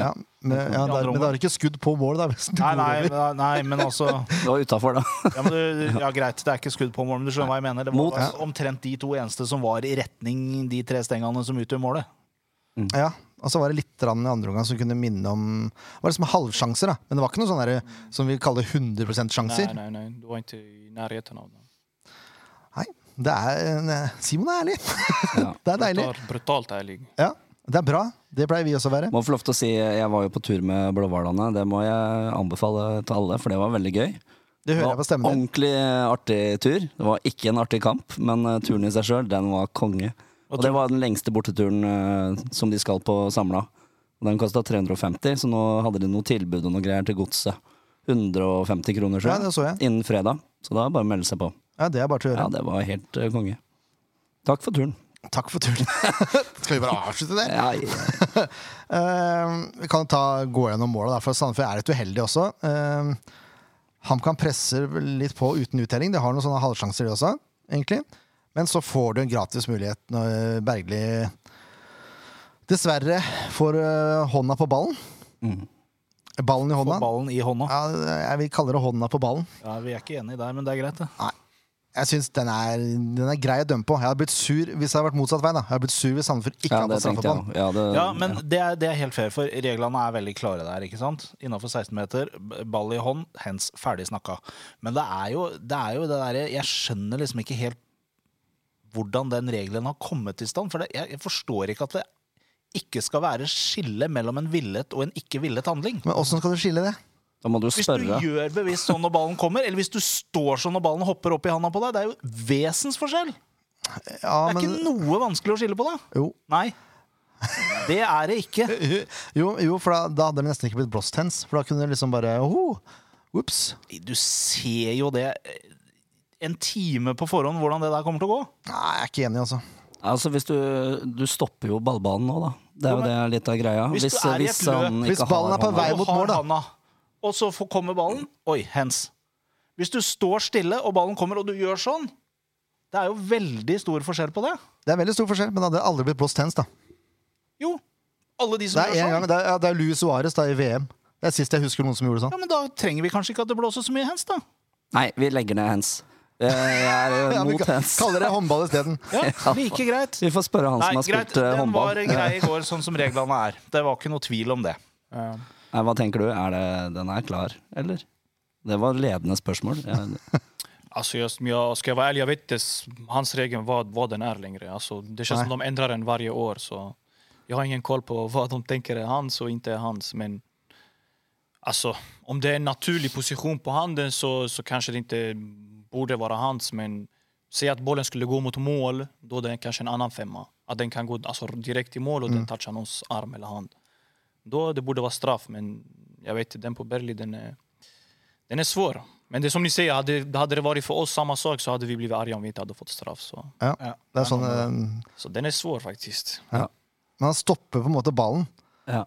Speaker 1: Ja, men, ja, det er- men det er ikke skudd på mål, da. Hvis det
Speaker 2: Nei,
Speaker 1: går
Speaker 2: nei,
Speaker 1: over.
Speaker 2: men- nei men altså
Speaker 3: Det var utafor, da.
Speaker 2: ja, men du, ja, greit, det er ikke skudd på mål, men du skjønner hva jeg mener. Det
Speaker 3: Mot-
Speaker 2: var altså omtrent de to eneste som var i retning de tre stengene som utgjør målet.
Speaker 1: Ja, og så var det litt grann i andre omgang som kunne minne om Det var liksom halvsjanser, da. Men det var ikke noe sånn derre som vi kaller 100
Speaker 4: Nej,
Speaker 1: sjanser.
Speaker 4: nej, nej. Du var inte i närheten av den.
Speaker 1: Nei. Det er en, eh, Simon er ærlig.
Speaker 3: Ja.
Speaker 1: Det er deilig.
Speaker 4: Brutal, brutalt ærlig.
Speaker 1: Ja, det er bra. Det pleier vi også å være.
Speaker 3: Må få lov til å si jeg var jo på tur med Blåhvalene. Det må jeg anbefale til alle, for det var veldig gøy.
Speaker 1: Det hører jeg på
Speaker 3: Det var
Speaker 1: stemmen din.
Speaker 3: ordentlig eh, artig tur. Det var ikke en artig kamp, men eh, turen i seg sjøl, den var konge. Og det var den lengste borteturen eh, som de skal på samla. Og Den kosta 350, så nå hadde de noe tilbud og noe greier til godset. 150 kroner, tror
Speaker 1: Ja, det så jeg.
Speaker 3: Innen fredag. Så da er det bare å melde seg på.
Speaker 1: Ja, det er bare til å
Speaker 3: Ja,
Speaker 1: gjøre.
Speaker 3: det var helt eh, konge. Takk for turen.
Speaker 1: Takk for turen. Skal vi bare avslutte det?
Speaker 3: Ja,
Speaker 1: Eh, vi kan ta, gå gjennom målet, da, for Sandefjord er litt uheldig også. Uh, HamKam presser litt på uten uttelling. De har noen sånne halvsjanser, de også. egentlig. Men så får du en gratis mulighet når Bergli dessverre får eh, hånda på ballen.
Speaker 3: Mm.
Speaker 1: Ballen i
Speaker 2: Få
Speaker 1: hånda.
Speaker 2: ballen i hånda.
Speaker 1: Ja, jeg vil kalle det hånda på ballen.
Speaker 2: Ja, vi er ikke enige der, men det er greit, det.
Speaker 1: Jeg synes den, er, den er grei å dømme på. Jeg hadde blitt sur hvis det hadde vært motsatt vei. da. Jeg hadde blitt sur hvis Sandefjord ikke
Speaker 3: ja
Speaker 1: hadde
Speaker 3: det
Speaker 1: fått
Speaker 3: tenkte jeg
Speaker 1: straffeball.
Speaker 3: òg. Ja, det-
Speaker 2: Ja, men det er, det er helt fair, for reglene er veldig klare der. ikke sant? Innafor 16 meter, b- ball i hånd, hands, ferdig snakka. Men det er jo det, er jo det derre Jeg skjønner liksom ikke helt hvordan den regelen har kommet i stand. For det, jeg, jeg forstår ikke at det ikke skal være skille mellom en villet og en ikke villet handling.
Speaker 1: Men åssen skal du skille det?
Speaker 3: Da må du
Speaker 2: Hvis du
Speaker 3: spørre.
Speaker 2: gjør bevisst sånn når ballen kommer, eller hvis du står sånn når ballen hopper opp i handa på deg, det er jo vesensforskjell!
Speaker 1: Ja,
Speaker 2: Det er
Speaker 1: men,
Speaker 2: ikke noe vanskelig å skille på det.
Speaker 1: jo,
Speaker 2: Nei. Det er det ikke.
Speaker 1: Jo, jo for da, da hadde det nesten ikke blitt blåst hens. For da kunne det liksom bare oh, Ops.
Speaker 2: Du ser jo det eh, en time på forhånd hvordan det der kommer til å gå.
Speaker 1: Nei, jeg er ikke enig, altså.
Speaker 3: Altså, hvis du, du stopper jo ballbanen nå, da. Det er jo det er litt av greia.
Speaker 2: hvis
Speaker 3: Hvis, eh,
Speaker 2: du er i et
Speaker 3: hvis, han
Speaker 2: løp-
Speaker 3: ikke
Speaker 1: hvis ballen
Speaker 3: har
Speaker 1: er på
Speaker 3: hånda
Speaker 1: vei
Speaker 2: Og
Speaker 1: mot
Speaker 2: har
Speaker 1: mål, da.
Speaker 2: handa, og så får- kommer ballen. Oi, hands. Hvis du står stille, og ballen kommer, og du gjør sånn Det er jo veldig stor forskjell på det.
Speaker 1: Det er veldig stor forskjell, men det hadde aldri blitt blåst hens, da.
Speaker 2: Jo, alle de som
Speaker 1: Det er en
Speaker 2: gjør
Speaker 1: gang,
Speaker 2: sånn.
Speaker 1: det er, ja, det er Luis Suárez da, i VM. Det er sist jeg husker noen som gjorde
Speaker 2: Ja,
Speaker 1: sånn.
Speaker 2: men Da trenger vi kanskje ikke at det blåser så mye hands, da.
Speaker 3: Nei, vi legger ned hands. Eh, Jeg er eh,
Speaker 1: Ja, vi
Speaker 3: mot
Speaker 1: ka-
Speaker 3: hands.
Speaker 1: kaller det håndball isteden.
Speaker 2: Ja, like greit.
Speaker 3: Vi får spørre han
Speaker 2: Nei,
Speaker 3: som har
Speaker 2: greit,
Speaker 3: spilt eh,
Speaker 2: Den var
Speaker 3: håndball.
Speaker 2: grei i går, sånn som reglene er. Det var ikke noe tvil om det.
Speaker 4: Ja.
Speaker 3: Nei, hva tenker du? Er det, den er klar, eller? Det var ledende spørsmål. Jeg-
Speaker 4: Alltså jag, jag, ska jag vara ärlig, jag vet inte s- hans regel vad, vad den är längre. Alltså, det känns
Speaker 1: Nej.
Speaker 4: som de ändrar den varje år. Så jag har ingen koll på vad de tänker är hans och inte är hans. Men alltså, om det är en naturlig position på handen så, så kanske det inte borde vara hans. Men säg att bollen skulle gå mot mål, då är det kanske en annan femma. Att den kan gå alltså, direkt till mål och den touchar någons arm eller hand. Då det borde vara straff, men jag vet inte, den på Berli den är... Den är svår. Men det är som ni säger, hade, hade det varit för oss samma sak så hade vi blivit arga om vi inte hade fått straff. Så,
Speaker 1: Ja, det er sånn, eh,
Speaker 4: så den är svår faktiskt.
Speaker 1: men han stopper på en måte ballen.
Speaker 3: Ja.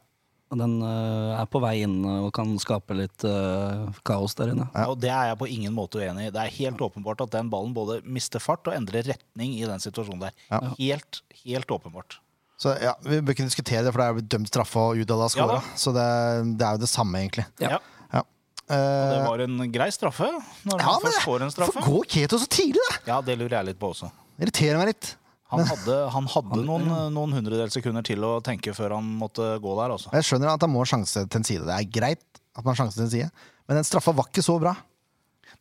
Speaker 3: Og den eh, er på vei inn eh, og kan skape litt eh, kaos der inne.
Speaker 2: Ja, og Det er jeg på ingen måte uenig i. Det er helt åpenbart at den ballen både mister fart og endrer retning i den situasjonen der. Helt, helt åpenbart.
Speaker 1: Så ja, Vi bør ikke diskutere det, for det er blitt dømt straffe og Udal har
Speaker 2: Ja da.
Speaker 1: scora. så det, det er jo det samme, egentlig.
Speaker 3: Ja.
Speaker 2: Ja.
Speaker 1: Ja.
Speaker 2: Og det
Speaker 1: Eh,
Speaker 2: var en grei straffe. Når
Speaker 1: ja,
Speaker 2: han
Speaker 1: men
Speaker 2: først får en
Speaker 1: Hvorfor
Speaker 2: straffe.
Speaker 1: går Keto så tidlig, da?
Speaker 2: Ja, det lurer jeg litt på også.
Speaker 1: Irriterer meg litt.
Speaker 2: Han hadde, han hadde noen, eh, noen hundredels sekunder til å tenke før han måtte gå der, altså.
Speaker 1: Og Jeg skjønner at han må ha sjanse til en side. Det er greit at man har sjanse til en side, men den straffa var ikke så bra.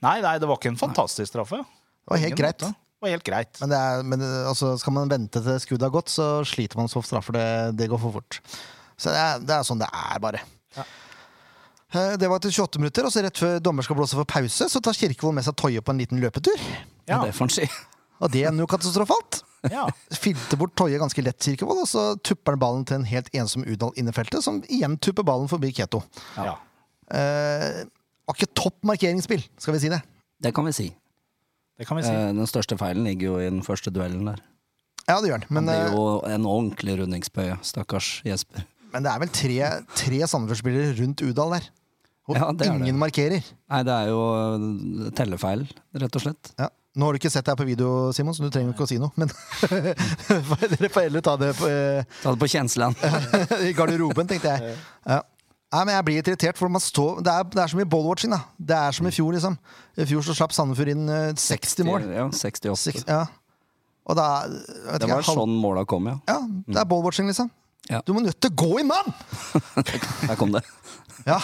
Speaker 2: Nei, nei, det var ikke en fantastisk straffe.
Speaker 1: Det var helt
Speaker 2: Ingen
Speaker 1: greit.
Speaker 2: måte. Det var helt greit.
Speaker 1: Men, det er, men det, altså, skal man vente til skuddet har gått, så sliter man så ofte straffer. Det, det går for fort. Så det er, det er sånn det er, bare. Eh, Det var til 28 minutter, og så rett før dommer skal blåse for pause, så tar Kirkevold med seg Toje på en liten løpetur.
Speaker 2: Ja.
Speaker 3: Det får han si.
Speaker 1: Og det er jo katastrofalt.
Speaker 2: Ja.
Speaker 1: Filte bort Toje ganske lett, Kirkevold, og så tupper han ballen til en helt ensom Udal inne i feltet, som igjen tupper ballen forbi Keto.
Speaker 2: ja.
Speaker 1: Eh, var ikke topp markeringsspill, skal vi si det.
Speaker 3: Det kan vi si.
Speaker 2: Det kan vi si.
Speaker 3: Eh, Den største feilen ligger jo i den første duellen der.
Speaker 1: Ja, det gjør han. Men,
Speaker 3: det
Speaker 1: eh,
Speaker 3: er jo en ordentlig rundingspøye, stakkars Jesper.
Speaker 1: men det er vel tre, tre Sandefjord-spillere rundt Udal der. Og
Speaker 3: Ja, det er
Speaker 1: ingen
Speaker 3: det.
Speaker 1: markerer.
Speaker 3: Nei, det er jo eh, tellefeil, rett og slett.
Speaker 1: Ja. Nå har du ikke sett det her på video, Simon, så du trenger ikke å si noe. Men dere får heller ta det på, eh,
Speaker 3: Ta det på kjenslen.
Speaker 1: I garderoben, tenkte jeg. Ja. Nei, men jeg blir litt irritert, for man står, det, er, det er som i ballwatching. da. Det er som i fjor, liksom. I fjor så slapp Sandefjord inn eh, 60 mål.
Speaker 3: Ja, 68.
Speaker 1: Seks- ja. Og da jeg vet
Speaker 3: Det
Speaker 1: ikke,
Speaker 3: var
Speaker 1: halv-
Speaker 3: sånn måla kom, ja.
Speaker 1: Ja, det er ballwatching, liksom.
Speaker 3: Ja.
Speaker 1: Du må nødt til å gå i mann!
Speaker 3: Der kom det.
Speaker 1: Ja,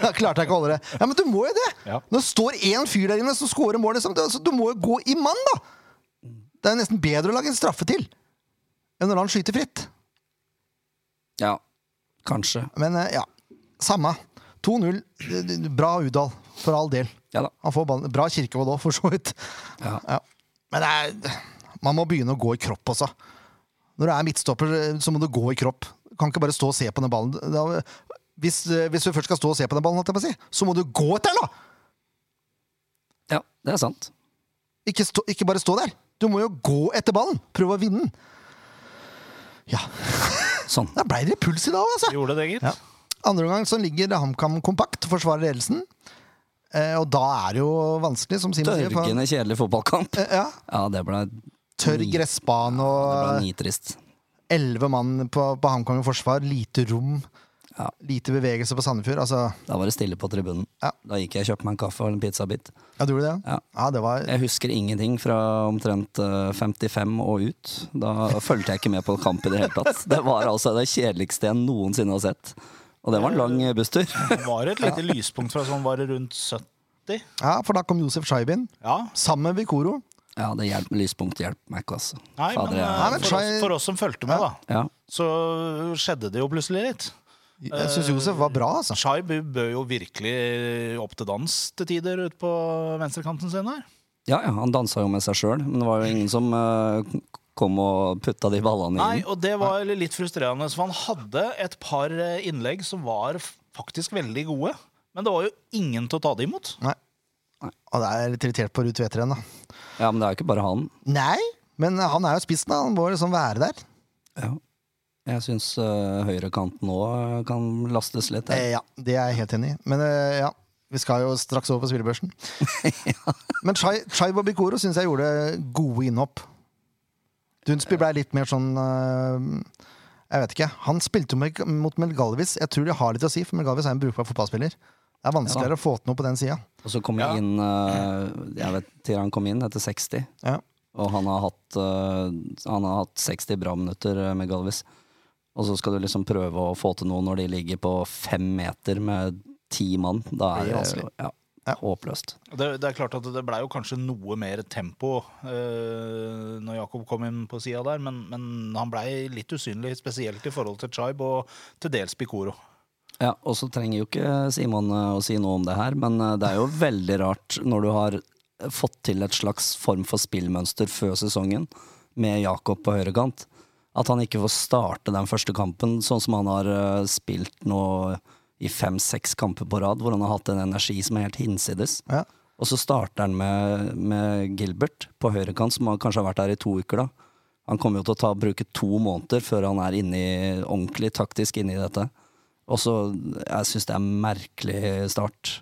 Speaker 1: Da klarte jeg ikke å holde det. Ja, Men du må jo det!
Speaker 2: Ja.
Speaker 1: Når det står én fyr der inne som scorer mål, liksom, du, altså, du må jo gå i mann, da! Det er jo nesten bedre å lage en straffe til enn å la han skyte fritt.
Speaker 3: Ja, kanskje.
Speaker 1: Men eh, ja, samme. 2-0. D- d- Bra Udal, for all del.
Speaker 3: Ja da.
Speaker 1: Han får ballen. Bra Kirkevold òg, for så vidt.
Speaker 3: Ja.
Speaker 1: Men det er, man må begynne å gå i kropp også. Når du er midtstopper, eh, så må du gå i kropp. Du kan ikke bare stå og se på den ballen. Da, hvis, eh, hvis du først skal stå og se på den ballen, holdt jeg på å si, så må du gå etter den, da!
Speaker 3: ja, det er sant.
Speaker 1: Ikke, stå, ikke bare stå der. Du må jo gå etter ballen! Prøve å vinne den. Ja,
Speaker 3: Sånn.
Speaker 1: da blei det puls i dag, altså!
Speaker 2: Gjorde det, gitt.
Speaker 1: Ja. Andre omgang så ligger HamKam kompakt, forsvarer ledelsen. Eh, og da er det jo vanskelig, som Simen sier. for-
Speaker 3: Dørgende kjedelig fotballkamp.
Speaker 1: Eh, ja,
Speaker 3: Ja, det ble,
Speaker 1: tørr
Speaker 3: Ni.
Speaker 1: gressbane
Speaker 3: Mm. det ble
Speaker 1: og
Speaker 3: nitrist.
Speaker 1: elleve mann på, på HamKam i forsvar. Lite rom.
Speaker 3: Ja.
Speaker 1: Lite bevegelse på Sandefjord. Altså,
Speaker 3: Da var det stille på tribunen.
Speaker 1: Ja.
Speaker 3: Da gikk jeg og kjøpte meg en kaffe og en pizzabit.
Speaker 1: ja, du gjorde det?
Speaker 3: Ja.
Speaker 1: ja det var
Speaker 3: Jeg husker ingenting fra omtrent eh, 55 og ut. Da fulgte jeg ikke med på kamp i det hele tatt. Det var altså det kjedeligste jeg noensinne har sett. Og det var en lang eh, busstur.
Speaker 2: Det var et lite lyspunkt fra sånn var det rundt 70.
Speaker 1: Ja, for da kom Josef Shaibin.
Speaker 2: Ja.
Speaker 1: Sammen med Vikoro.
Speaker 3: Ja, det hjelper, lyspunkt hjelper meg ikke, altså.
Speaker 2: Nei, men,
Speaker 3: Fader, jeg-
Speaker 2: eh,
Speaker 1: men
Speaker 2: for, oss,
Speaker 1: try-
Speaker 2: for oss som fulgte med, da,
Speaker 3: ja.
Speaker 2: så skjedde det jo plutselig litt.
Speaker 1: Jeg syns
Speaker 3: Eh,
Speaker 1: Josef var bra, altså.
Speaker 2: Shai bør jo virkelig opp til dans til tider ute på venstrekanten sin her.
Speaker 3: Ja, ja, han dansa jo med seg sjøl, men det var jo ingen som eh, kom og putta de ballene
Speaker 2: Nei,
Speaker 3: inn.
Speaker 2: og det var litt frustrerende, for han hadde et par eh, innlegg som var f- faktisk veldig gode, men det var jo ingen til å ta det imot.
Speaker 1: Nei. Og det er litt irritert på Ruud Tveter igjen, da.
Speaker 3: Ja, Men det er jo ikke bare han.
Speaker 1: Nei, men han er jo spissen, da. Han må liksom være der.
Speaker 3: Ja. Jeg syns høyrekanten òg kan lastes litt.
Speaker 1: Eh,
Speaker 3: Jeg.
Speaker 1: ja, det er jeg helt enig i. Men eh, ja, vi skal jo straks over på spillebørsen. Men Chai, Chai Bikoro syns jeg gjorde gode innhopp. Dunsby blei litt mer sånn eh, Jeg vet ikke. Han spilte jo med, mot Melgalvis. Jeg tror det har litt å si, for Melgalvis er en brukbar fotballspiller. Det er vanskeligere å få til noe på den sida.
Speaker 3: Og så kom jeg inn eh, Jeg vet til han kom inn, etter 60.
Speaker 1: Ja.
Speaker 3: Og han har hatt, eh, han har hatt 60 bra minutter eh, med Galvis. Og så skal du liksom prøve å få til noe når de ligger på fem meter med ti mann.
Speaker 1: Det
Speaker 3: Da er
Speaker 1: blir
Speaker 3: det jo- ja, håpløst.
Speaker 2: Det, det er klart at det blei jo kanskje noe mer tempo eh, når Jakob kom inn på sida der, men, men han blei litt usynlig, spesielt i forhold til Chaib og til dels Bikoro.
Speaker 3: Ja, og så trenger jo ikke Simon eh, å si noe om det her, men eh, det er jo veldig rart når du har fått til et slags form for spillmønster før sesongen med Jakob på høyrekant, at han ikke får starte den første kampen sånn som han har eh, spilt nå i fem-seks kamper på rad, hvor han har hatt en energi som er helt hinsides.
Speaker 1: Ja.
Speaker 3: Og så starter han med, med Gilbert på høyrekant, som har kanskje har vært her i to uker. da. Han kommer jo til å ta, bruke to måneder før han er inne i, ordentlig taktisk inne i dette. Og så, Jeg syns det er en merkelig start,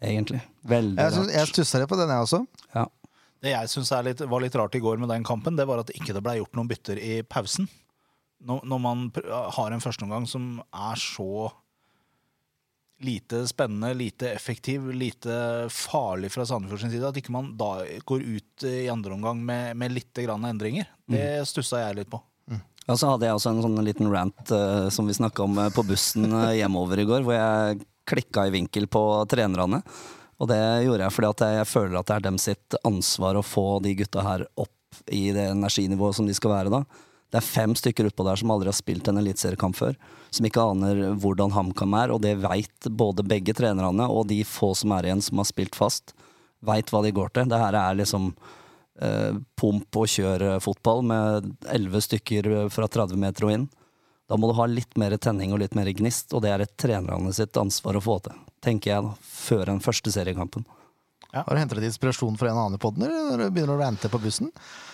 Speaker 3: egentlig. Veldig
Speaker 1: Jeg, synes- jeg
Speaker 3: rart.
Speaker 1: stussa litt på den, jeg også.
Speaker 3: Ja.
Speaker 2: Det jeg syns var litt rart i går med den kampen, det var at ikke det blei gjort noen bytter i pausen. Når, når man pr- har en førsteomgang som er så lite spennende, lite effektiv, lite farlig fra Sandefjord sin side, at ikke man da går ut i andre omgang med, med litt grann endringer. Det
Speaker 1: Mm.
Speaker 2: stussa jeg litt på.
Speaker 3: Og så hadde jeg også en sånn liten rant eh, som vi snakka om eh, på bussen eh, hjemover i går, hvor jeg klikka i vinkel på trenerne. Og det gjorde jeg fordi at jeg, jeg føler at det er dem sitt ansvar å få de gutta her opp i det energinivået som de skal være da. Det er fem stykker utpå der som aldri har spilt en eliteseriekamp før. Som ikke aner hvordan HamKam er, og det veit både begge trenerne og de få som er igjen som har spilt fast. Veit hva de går til. Det her er liksom eh, pump og kjør-fotball med elleve stykker fra 30 meter og inn. Da må du ha litt mer tenning og litt mer gnist, og det er et trenerne sitt ansvar å få til, tenker jeg da, før den første seriekampen.
Speaker 1: Har du hentet litt inspirasjon fra en annen i podden, eller når du begynner å rante på bussen?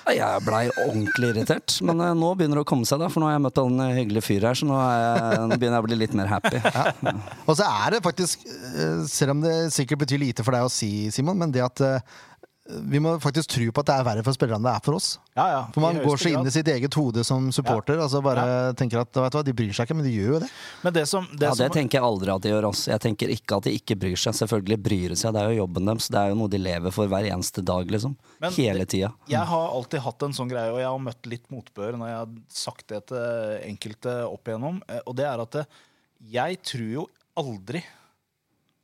Speaker 3: Nei, Jeg blei ordentlig irritert, men eh, nå begynner det å komme seg, da. For nå har jeg møtt han eh, hyggelige fyr her, så nå, er jeg, nå begynner jeg å bli litt mer happy.
Speaker 1: Og så er det faktisk, eh, selv om det sikkert betyr lite for deg å si, Simon, men det at eh, vi må faktisk tro på at det er verre for spillerne enn det er for oss.
Speaker 2: Ja, ja.
Speaker 1: For man
Speaker 2: i
Speaker 1: går
Speaker 2: høyeste
Speaker 1: så inn
Speaker 2: grad.
Speaker 1: i sitt eget hode som supporter, altså bare tenker at vet du hva, de bryr seg ikke, men de gjør jo det.
Speaker 2: Men det som, det
Speaker 3: Ja, det
Speaker 2: som
Speaker 3: tenker jeg aldri at de gjør. Også. Jeg tenker ikke at de ikke bryr seg. Selvfølgelig bryr de seg, det er jo jobben deres. Det er jo noe de lever for hver eneste dag, liksom.
Speaker 2: Men
Speaker 3: Hele tida.
Speaker 2: Jeg har alltid hatt en sånn greie, og jeg har møtt litt motbør når jeg har sagt det til enkelte opp igjennom, eh, og det er at eh, jeg tror jo aldri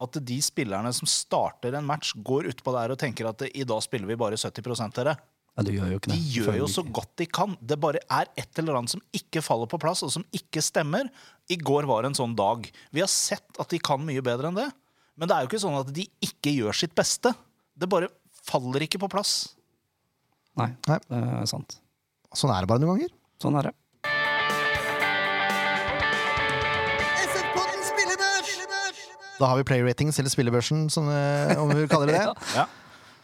Speaker 2: at de spillerne som starter en match, går utpå der og tenker at eh, i dag spiller vi bare 70 dere.
Speaker 3: Ja, du gjør jo ikke
Speaker 2: De
Speaker 3: det.
Speaker 2: gjør jo
Speaker 3: Selvfølgelig
Speaker 2: så
Speaker 3: ikke.
Speaker 2: godt de kan. Det bare er et eller annet som ikke faller på plass, og som ikke stemmer. I går var en sånn dag. Vi har sett at de kan mye bedre enn det. Men det er jo ikke sånn at de ikke gjør sitt beste. Det bare faller ikke på plass.
Speaker 3: Nei,
Speaker 1: Nei.
Speaker 3: det er sant.
Speaker 1: Sånn er det bare noen ganger.
Speaker 3: Sånn er det.
Speaker 5: SF-podden spillebørs!
Speaker 1: Da har vi player ratings, eller spillebørsen, som, eh, om vi kaller det det.
Speaker 2: Ja.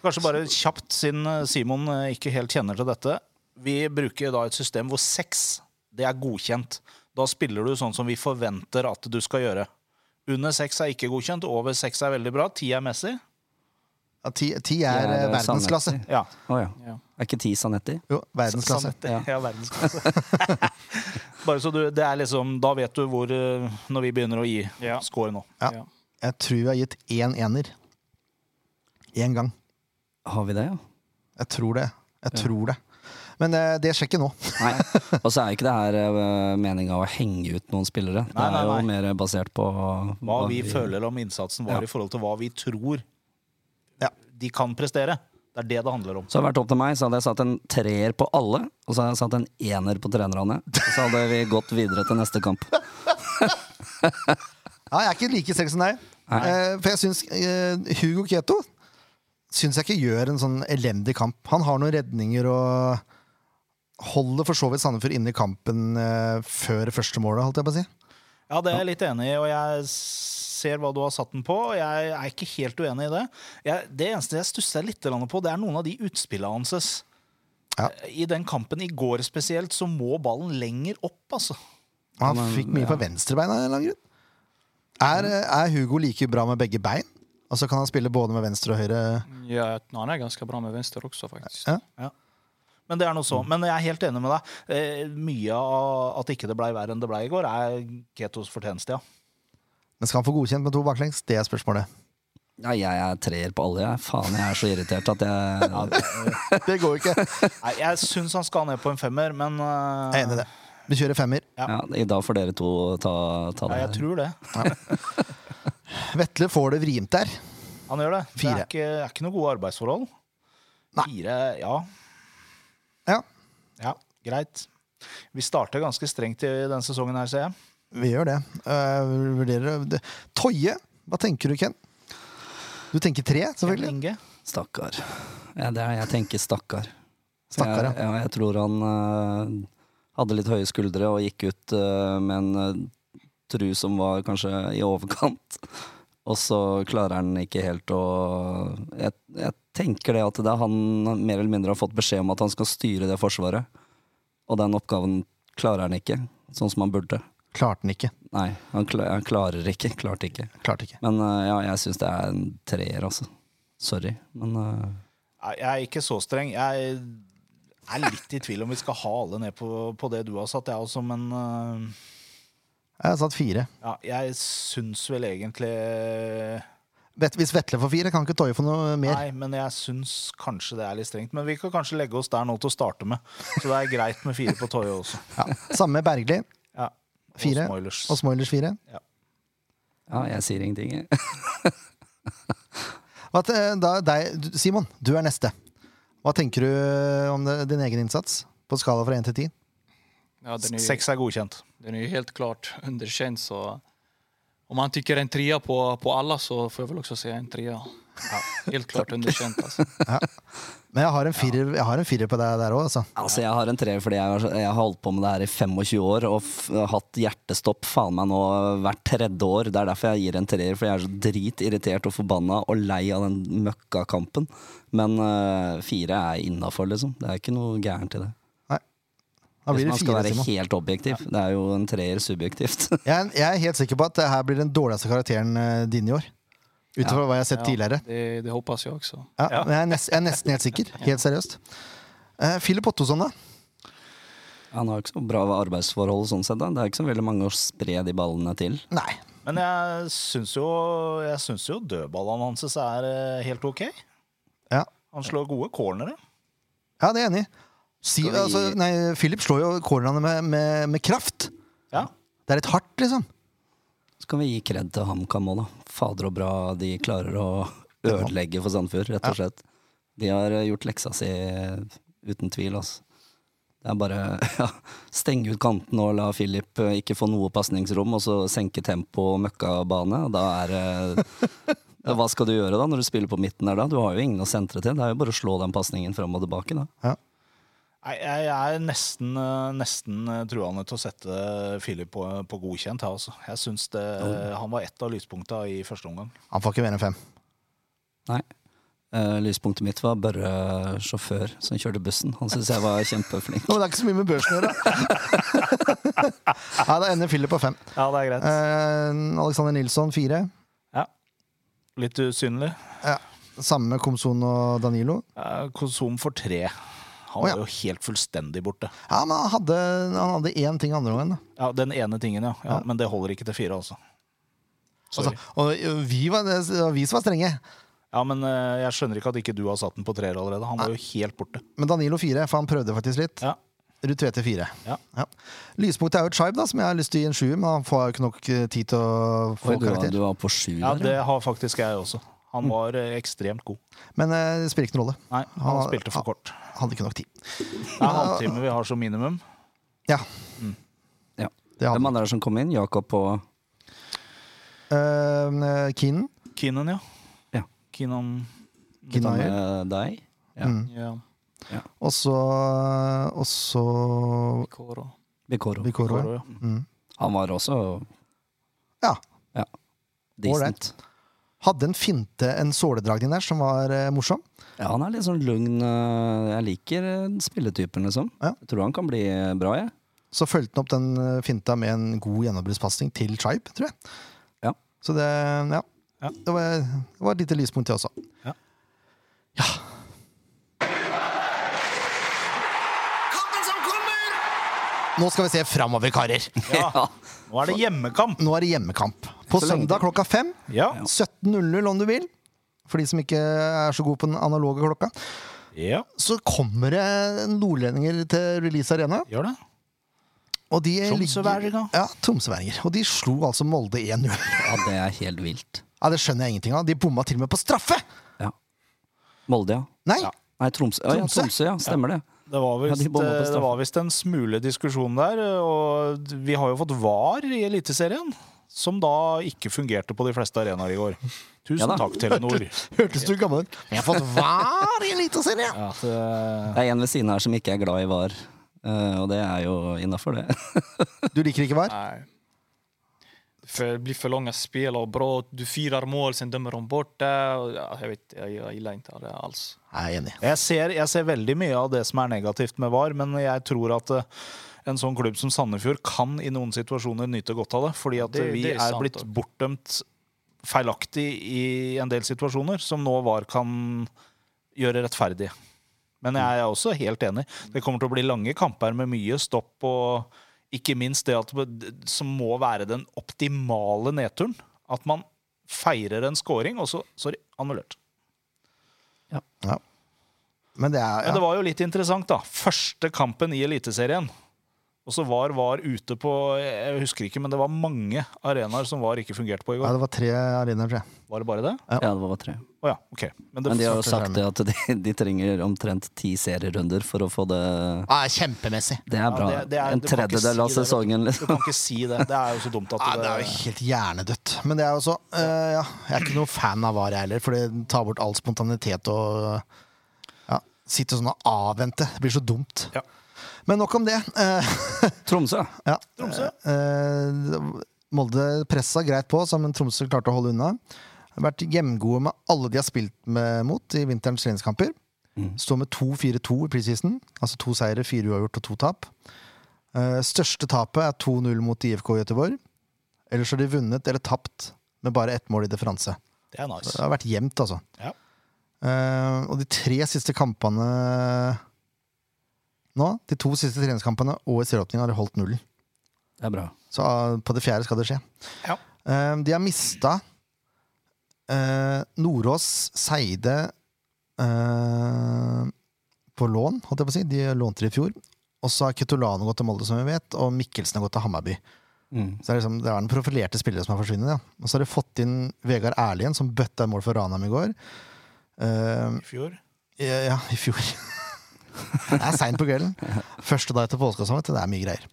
Speaker 2: Kanskje bare kjapt, siden eh, Simon eh, ikke helt kjenner til dette. Vi bruker da et system hvor seks det er godkjent. Da spiller du sånn som vi forventer at du skal gjøre. Under seks er ikke godkjent, over seks er veldig bra, ti er Messi.
Speaker 1: Ja, ti, ti er eh,
Speaker 3: Det er
Speaker 1: verdensklasse.
Speaker 3: Sanetti.
Speaker 2: Ja,
Speaker 3: Å ja.
Speaker 4: Ja.
Speaker 3: Er ikke ti Sanetti?
Speaker 1: Jo, verdensklasse.
Speaker 2: Sanetti. Ja, verdensklasse. Bare så du, det er liksom, Da vet du hvor eh, Når vi begynner å gi
Speaker 4: Ja.
Speaker 2: score nå.
Speaker 1: Ja. Jeg tror vi har gitt én ener. Én gang.
Speaker 3: Har vi det, ja?
Speaker 1: Jeg tror det. Jeg tror det. Men eh, det sjekker jeg nå.
Speaker 3: Nei. Og så er jo ikke det her meninga å henge ut noen spillere.
Speaker 2: Nei,
Speaker 3: det
Speaker 2: nei,
Speaker 3: er jo
Speaker 2: nei.
Speaker 3: mer basert på hva,
Speaker 2: Hva vi føler om innsatsen
Speaker 3: Ja.
Speaker 2: var i forhold til hva vi tror
Speaker 1: Ja.
Speaker 2: de kan prestere. Det er det det handler om.
Speaker 3: Så hadde det vært opp til meg, så hadde jeg satt en treer på alle, og så hadde jeg satt en ener på trenerne. Og så hadde vi gått videre til neste kamp.
Speaker 1: Ja, jeg er ikke like streng som deg.
Speaker 3: Nei.
Speaker 1: Eh, for jeg syns eh, Hugo Keto syns jeg ikke gjør en sånn elendig kamp. Han har noen redninger og holder for så vidt Sandefjord inne i kampen eh, før første målet, holdt jeg på å si.
Speaker 2: Ja, det er jeg litt enig i, og jeg ser hva du har satt den på. og Jeg er ikke helt uenig i det. Jeg, det eneste jeg stusser litt grann på, det er noen av de utspillene hans.
Speaker 1: Ja.
Speaker 2: I den kampen i går spesielt, så må ballen lenger opp, altså.
Speaker 1: Og Han fikk mye på venstrebeina. av en eller annen grunn. Er, eh, er Hugo like bra med begge bein? Altså Kan han spille både med venstre og høyre?
Speaker 4: Ja, han er ganske bra med venstre også, faktisk.
Speaker 1: Ja.
Speaker 2: Men det er noe så.
Speaker 1: Mm.
Speaker 2: Men jeg er helt enig med deg. Eh, mye av at ikke det blei verre enn det blei i går, er Ketos fortjeneste, ja.
Speaker 1: Men Skal han få godkjent med to baklengs? Det er spørsmålet.
Speaker 3: Ja, jeg er treer på alle, jeg. Faen, jeg er så irritert at jeg
Speaker 1: Det går ikke. Jeg
Speaker 2: Nei, jeg syns han skal ned på en femmer, men eh,
Speaker 1: er enig i det. Vi kjører femmer.
Speaker 3: ja, I dag får dere to ta, ta
Speaker 2: Ja, jeg
Speaker 3: det.
Speaker 2: tror det.
Speaker 1: Vetle får det vrient der.
Speaker 2: Han gjør det. Det
Speaker 1: Fire.
Speaker 2: er ikke, er ikke noe gode arbeidsforhold.
Speaker 1: Nei.
Speaker 2: Fire, ja.
Speaker 1: Ja,
Speaker 2: Ja, greit. Vi starter ganske strengt i denne sesongen her, ser jeg.
Speaker 1: Vi gjør det. Eh, vi vurderer det. Toje, hva tenker du, Ken? Du tenker tre,
Speaker 2: Kjell
Speaker 1: selvfølgelig.
Speaker 2: Inge.
Speaker 3: Stakkar. Ja, det er, jeg tenker stakkar. Så
Speaker 1: Stakkar,
Speaker 3: jeg, ja. Jeg tror han eh, hadde litt høye skuldre og gikk ut eh, med en eh, tru som var kanskje i overkant. Og så klarer han ikke helt å jeg, jeg tenker det at det er han mer eller mindre har fått beskjed om at han skal styre det forsvaret. Og den oppgaven klarer han ikke, sånn som han burde.
Speaker 1: Klarte den ikke.
Speaker 3: Nei, han, kla- han klarer ikke. Klarte ikke.
Speaker 1: Klarte ikke.
Speaker 3: Men eh, ja, jeg syns det er en treer, altså. Sorry, men eh,
Speaker 2: Nei, Jeg er ikke så streng. Jeg er litt i tvil om vi skal ha alle ned på, på det du har satt, jeg også, men eh,
Speaker 1: Jeg har satt fire.
Speaker 2: ja, jeg syns vel egentlig
Speaker 1: Vet- Hvis Vetle får fire, kan ikke Toje få noe mer.
Speaker 2: Nei, men jeg syns kanskje det er litt strengt. Men vi kan kanskje legge oss der nå til å starte med. Så det er greit med fire på Toyo også.
Speaker 1: Ja. Samme med Bergli.
Speaker 2: Ja. Og
Speaker 1: Fire.
Speaker 2: Smoilers.
Speaker 1: Og Smoilers fire.
Speaker 3: ja, jeg sier ingenting. jeg.
Speaker 1: Hva te- da, deg, du- Simon, du er neste. Hva tenker du eh, om det, din egen innsats? På skala fra én til ti?
Speaker 4: Ja, den, är,
Speaker 2: Seks er godkjent.
Speaker 4: den är ju helt klart underkänd, så om man tycker en trea på, på alla så får jag väl också säga en trea. Helt klart underkjent. Altså.
Speaker 1: Men jeg har en firer, jeg har en firer på deg der òg, altså.
Speaker 3: Altså, jeg har en treer fordi jeg har, jeg har holdt på med det her i 25 år og f hatt hjertestopp faen meg nå hvert tredje år. Det er derfor jeg gir en treer, fordi jeg er så dritirritert og forbanna og lei av den møkkakampen. Men øh, fire er innafor, liksom. Det er ikke noe gærent i det.
Speaker 1: Da blir
Speaker 3: Hvis
Speaker 1: det
Speaker 3: man skal
Speaker 1: fire,
Speaker 3: være
Speaker 1: Simon.
Speaker 3: helt objektiv. Det er jo en treer subjektivt.
Speaker 1: Jeg er, jeg er helt sikker på at det her blir den dårligste karakteren eh, din i år. Ut ifra hva jeg har sett tidligere.
Speaker 4: Det, det hoppas jeg også.
Speaker 1: Ja, men Jeg, er nest, jeg er nesten helt sikker. Helt seriøst. Eh, Philip Ottosson, da?
Speaker 3: Han har ikke så bra arbeidsforhold sånn sett. Da. Det er ikke så veldig mange å spre de ballene til.
Speaker 1: Nei.
Speaker 2: Men jeg syns jo, jeg syns jo dødballene hans er eh, helt ok.
Speaker 1: Ja,
Speaker 2: Han slår gode cornere.
Speaker 1: ja det er jeg enig i. Si,
Speaker 3: Skal vi-
Speaker 1: altså, nei, Philip slår jo cornerne med, med, med kraft.
Speaker 2: Ja.
Speaker 1: Det er litt hardt, liksom.
Speaker 3: Så kan vi gi kred til HamKam òg, da. Fader og bra de klarer å ødelegge for Sandefjord, rett og slett. De har eh, gjort leksa si eh, uten tvil, altså. Det er bare ja, stenge ut kanten og la Philip eh, ikke få noe pasningsrom, og så senke tempo og møkkabane. Da er eh, ja, Hva skal du gjøre da når du spiller på midten der da? Du har jo ingen å sentre til. Det er jo bare å slå den pasningen fram og tilbake, da.
Speaker 2: Nei, jeg er nesten, eh, nesten eh, truende til å sette Philip på, på godkjent her, altså. Jeg syns det Han var ett av lyspunkta i første omgang.
Speaker 1: Han får ikke mer enn fem.
Speaker 3: Nei. Eh, lyspunktet mitt var Børre eh, sjåfør som kjørte bussen. Han syns jeg var kjempeflink.
Speaker 1: Ja, Men det er ikke så mye med børsen å gjøre. Nei, da ender Philip på fem.
Speaker 2: Ja, det er greit.
Speaker 1: Eh, Alexander Nilsson fire.
Speaker 2: Litt usynlig.
Speaker 1: Samme med Komson og Danilo.
Speaker 2: Eh, Konsum for tre. Han
Speaker 1: Å, ja.
Speaker 2: var jo helt fullstendig borte.
Speaker 1: Ja, men han hadde, han hadde én ting andre gangen. da.
Speaker 2: Ja, Den ene tingen, ja. ja. Men det holder ikke til fire, altså.
Speaker 1: Altså, og vi, var, det var vi som var strenge.
Speaker 2: Ja, men eh, jeg skjønner ikke at ikke du har satt den på treer allerede. Han var jo helt borte.
Speaker 1: Men Danilo fire, for han prøvde faktisk litt.
Speaker 2: Ja.
Speaker 1: Ruud Tvedte fire.
Speaker 2: Ja.
Speaker 1: Lyspunktet er jo Tribe, da, som jeg har lyst til å gi en sjuer, men han får jo ikke nok eh, tid til å få
Speaker 3: Oi, du, var-
Speaker 1: karakter.
Speaker 3: du var på sju
Speaker 2: Ja,
Speaker 3: der,
Speaker 2: det har faktisk jeg også. Han var eh, ekstremt god.
Speaker 1: Men eh, det spiller ikke noen rolle.
Speaker 2: Nei, han,
Speaker 1: Han-
Speaker 2: spilte for
Speaker 1: han-
Speaker 2: kort.
Speaker 1: Hadde ikke nok tid.
Speaker 2: Det er halvtime vi har som minimum.
Speaker 1: Ja,
Speaker 3: Ja.
Speaker 1: det
Speaker 3: Hvem
Speaker 1: hadde
Speaker 3: andre er det som kom inn? Jakob og
Speaker 1: uh, Keen.
Speaker 2: Keenan, ja.
Speaker 3: Ja.
Speaker 2: Keenan
Speaker 1: Keen Ayer.
Speaker 3: eh, deg? Ja.
Speaker 1: Mm.
Speaker 4: Ja,
Speaker 1: Og så Og så
Speaker 4: Koro.
Speaker 3: Bikoro.
Speaker 1: Bikoro.
Speaker 2: Koro, ja.
Speaker 1: Mm.
Speaker 3: Han var også
Speaker 1: Ja.
Speaker 3: ja. Decent.
Speaker 1: Hadde en finte, en såledragning der, som var eh, morsom.
Speaker 3: Ja, han er litt sånn lugn. eh, Jeg liker eh, spilletypen, liksom.
Speaker 1: Ja.
Speaker 3: Jeg tror han kan bli eh, bra, jeg.
Speaker 1: Så fulgte han opp den eh, finta med en god gjennombruddspasning til Tribe, tror jeg.
Speaker 3: Ja.
Speaker 1: Så det ja.
Speaker 2: Ja.
Speaker 1: Det, var, det var et lite lyspunkt, det også.
Speaker 2: Ja.
Speaker 1: Ja.
Speaker 5: Kampen som kommer!
Speaker 1: Nå skal vi se framover, karer.
Speaker 2: Ja. Nå er det hjemmekamp!
Speaker 1: Nå er det hjemmekamp. På
Speaker 3: Så lenge
Speaker 1: søndag klokka fem.
Speaker 2: Ja.
Speaker 1: 17.00 om du vil. For de som ikke er så gode på den analoge klokka.
Speaker 2: ja.
Speaker 1: Så kommer det nordlendinger til Release Arena.
Speaker 2: Gjør det.
Speaker 1: Og de
Speaker 2: Tromsøværinger.
Speaker 1: ligger- Ja, tromsøværinger. Og de slo altså Molde 1-0.
Speaker 3: Ja, det er helt vilt.
Speaker 1: Ja, det skjønner jeg ingenting av. De bomma til og med på straffe!
Speaker 3: Ja. Molde, ja.
Speaker 1: Nei!
Speaker 3: Nei, Tromsø. Å, ja,
Speaker 1: Tromsø.
Speaker 3: Tromsø, ja. Stemmer det.
Speaker 2: Det var
Speaker 3: Ja,
Speaker 2: visst, eh,
Speaker 3: de bomma på
Speaker 2: det
Speaker 3: straffen.
Speaker 2: var visst en smule diskusjon der, og vi har jo fått VAR i Eliteserien. Som da ikke fungerte på de fleste arenaer i går. Tusen
Speaker 3: Ja da.
Speaker 2: takk, Telenor.
Speaker 1: Hørtes du gammel ut? Jeg har fått var i Eliteserien!
Speaker 2: Ja, det,
Speaker 3: Det er en ved siden her som ikke er glad i VAR, eh, og det er jo innafor, det.
Speaker 1: Du liker ikke VAR?
Speaker 4: Nej. För, det blir för långa spel och bra. Du firar mål, sen dömer de bort det. Och, Ja, jag, vet, jag, jag gillar inte det alls.
Speaker 1: Jeg er enig.
Speaker 2: jeg, ser, jeg ser veldig mye av det som er negativt med VAR, men jeg tror at eh, en sånn klubb som Sandefjord kan i noen situasjoner nyte godt av det. Fordi at
Speaker 4: Det-
Speaker 2: vi
Speaker 4: det er
Speaker 2: er,
Speaker 4: sant,
Speaker 2: blitt
Speaker 4: da.
Speaker 2: bortdømt feilaktig i en del situasjoner, som nå VAR kan gjøre rettferdig. Men jeg er også helt enig. Det kommer til å bli lange kamper med mye stopp og ikke minst det at, som må være den optimale nedturen. At man feirer en scoring, og så Sorry, annullert.
Speaker 1: Ja. Men det er
Speaker 2: Men
Speaker 1: ja.
Speaker 2: det var jo litt interessant, da. Første kampen i Eliteserien Og så var VAR ute på Jeg husker ikke, men det var mange arenaer som VAR ikke fungerte på i
Speaker 1: Ja,
Speaker 2: går.
Speaker 1: det var tre arenaer, tror jeg.
Speaker 2: Var det bare det?
Speaker 3: Ja, det var bare tre.
Speaker 2: Å ja, ok. Men det,
Speaker 3: Men de har jo
Speaker 1: første
Speaker 3: sagt det at de, de trenger omtrent ti serierunder for å få det
Speaker 1: Ah, kjempemessig!
Speaker 3: Det er bra.
Speaker 2: Ja, det- det er-
Speaker 3: en
Speaker 2: du kan ikke
Speaker 3: tredjedel av
Speaker 2: si det, vet du.
Speaker 3: sesongen,
Speaker 2: du
Speaker 3: liksom.
Speaker 2: kan ikke si det. Det er jo så dumt at
Speaker 1: Ja, det er jo helt hjernedødt. Men det er jo også eh, ja, Jeg er ikke noen fan av VAR, jeg heller, for det tar bort all spontanitet og ja, Sitte sånn og avvente. Det blir så dumt.
Speaker 2: Ja.
Speaker 1: Men nok om det. Eh,
Speaker 3: Tromsø.
Speaker 1: ja.
Speaker 2: Tromsø.
Speaker 1: Eh, Molde pressa greit på, så- men Tromsø klarte å holde unna. Har vært jevngode med alle de har spilt med, mot i vinterens treningskamper.
Speaker 2: Mm.
Speaker 1: Står med 2-4-2 i preseason. Altså to seire, fire uavgjort og to tap. Eh, største tapet er 2-0 mot IFK Göteborg. Ellers har de vunnet eller tapt med bare ett mål i differanse.
Speaker 2: Det er
Speaker 1: Det
Speaker 2: nice.
Speaker 1: har vært jevnt, altså.
Speaker 2: Ja.
Speaker 1: Eh, og de tre siste kampene nå, de to siste treningskampene og i serieåpningen, har de holdt nullen.
Speaker 3: Det er bra.
Speaker 1: Så ah, på det fjerde skal det skje.
Speaker 2: Ja.
Speaker 1: Eh, de har mista eh, Nordås, Seide eh, på lån, holdt jeg på å si. De lånte det i fjor. Og så har Ketolano gått til Molde, som vi vet, og Mikkelsen har gått til Hammarby.
Speaker 3: Mm.
Speaker 1: Så det er, liksom, det er den profilerte spillere som har forsvunnet. Ja. Og så har de fått inn Vegard Erlien, som bøtta i mål for Ranheim i går. Eh,
Speaker 2: I fjor.
Speaker 1: ja, ja, i fjor. det er seint på kvelden. Første dag etter påske og sånn, vet du, det er mye greier.